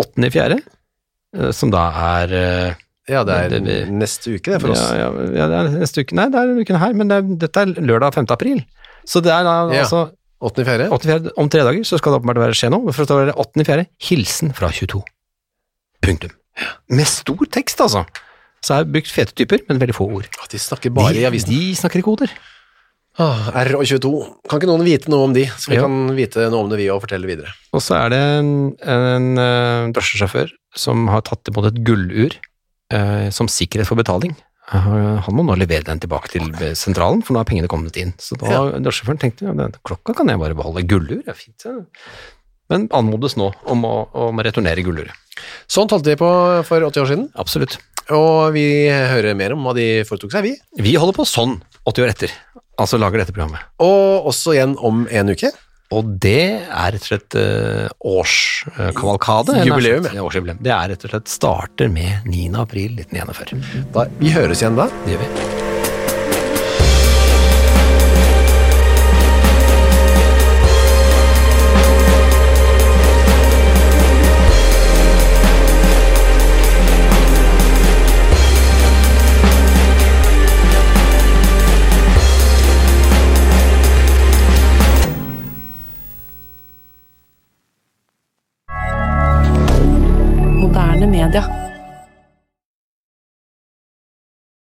8.4., som da er eh, Ja, det er Det blir- neste uke det for oss. Ja, ja, ja, det er neste uke. Nei, det er uken her, men det er, dette er lørdag 5. april. Så det er da Ja. altså 8.4. 8.4. om tre dager, så skal det åpenbart være skje noe. Men For å være 8.4. hilsen fra 22. Punktum. Med stor tekst, altså. Så er det brukt fete typer, men veldig få ord. Å, De snakker bare de, i avisen. de snakker i koder. Ah, R og 22. Kan ikke noen vite noe om de, så vi Ja. kan vite noe om det vi og fortelle videre. Og så er det en, en eh, drosjesjåfør som har tatt imot et gullur eh, som sikkerhet for betaling. Eh, Han må nå levere den tilbake til eh, sentralen, for nå har pengene kommet inn. Så da Ja. drosjesjåføren tenkte ja, den klokka kan jeg bare beholde. Gullur er fint. Ja. Men anmodes nå om å, om å returnere gulluret. Sånn holdt de på for 80 år siden, Absolutt. og vi hører mer om hva de foretok seg, vi. Vi holder på sånn 80 år etter. Altså lager dette programmet. Og også igjen om en uke. Og det er rett og slett eh, årskavalkade. eh, Jubileum, nær sagt. Årsjubileum. Det er rett og slett starter med 9. april 1941. Da, vi høres igjen da. Det gjør vi. Moderne media.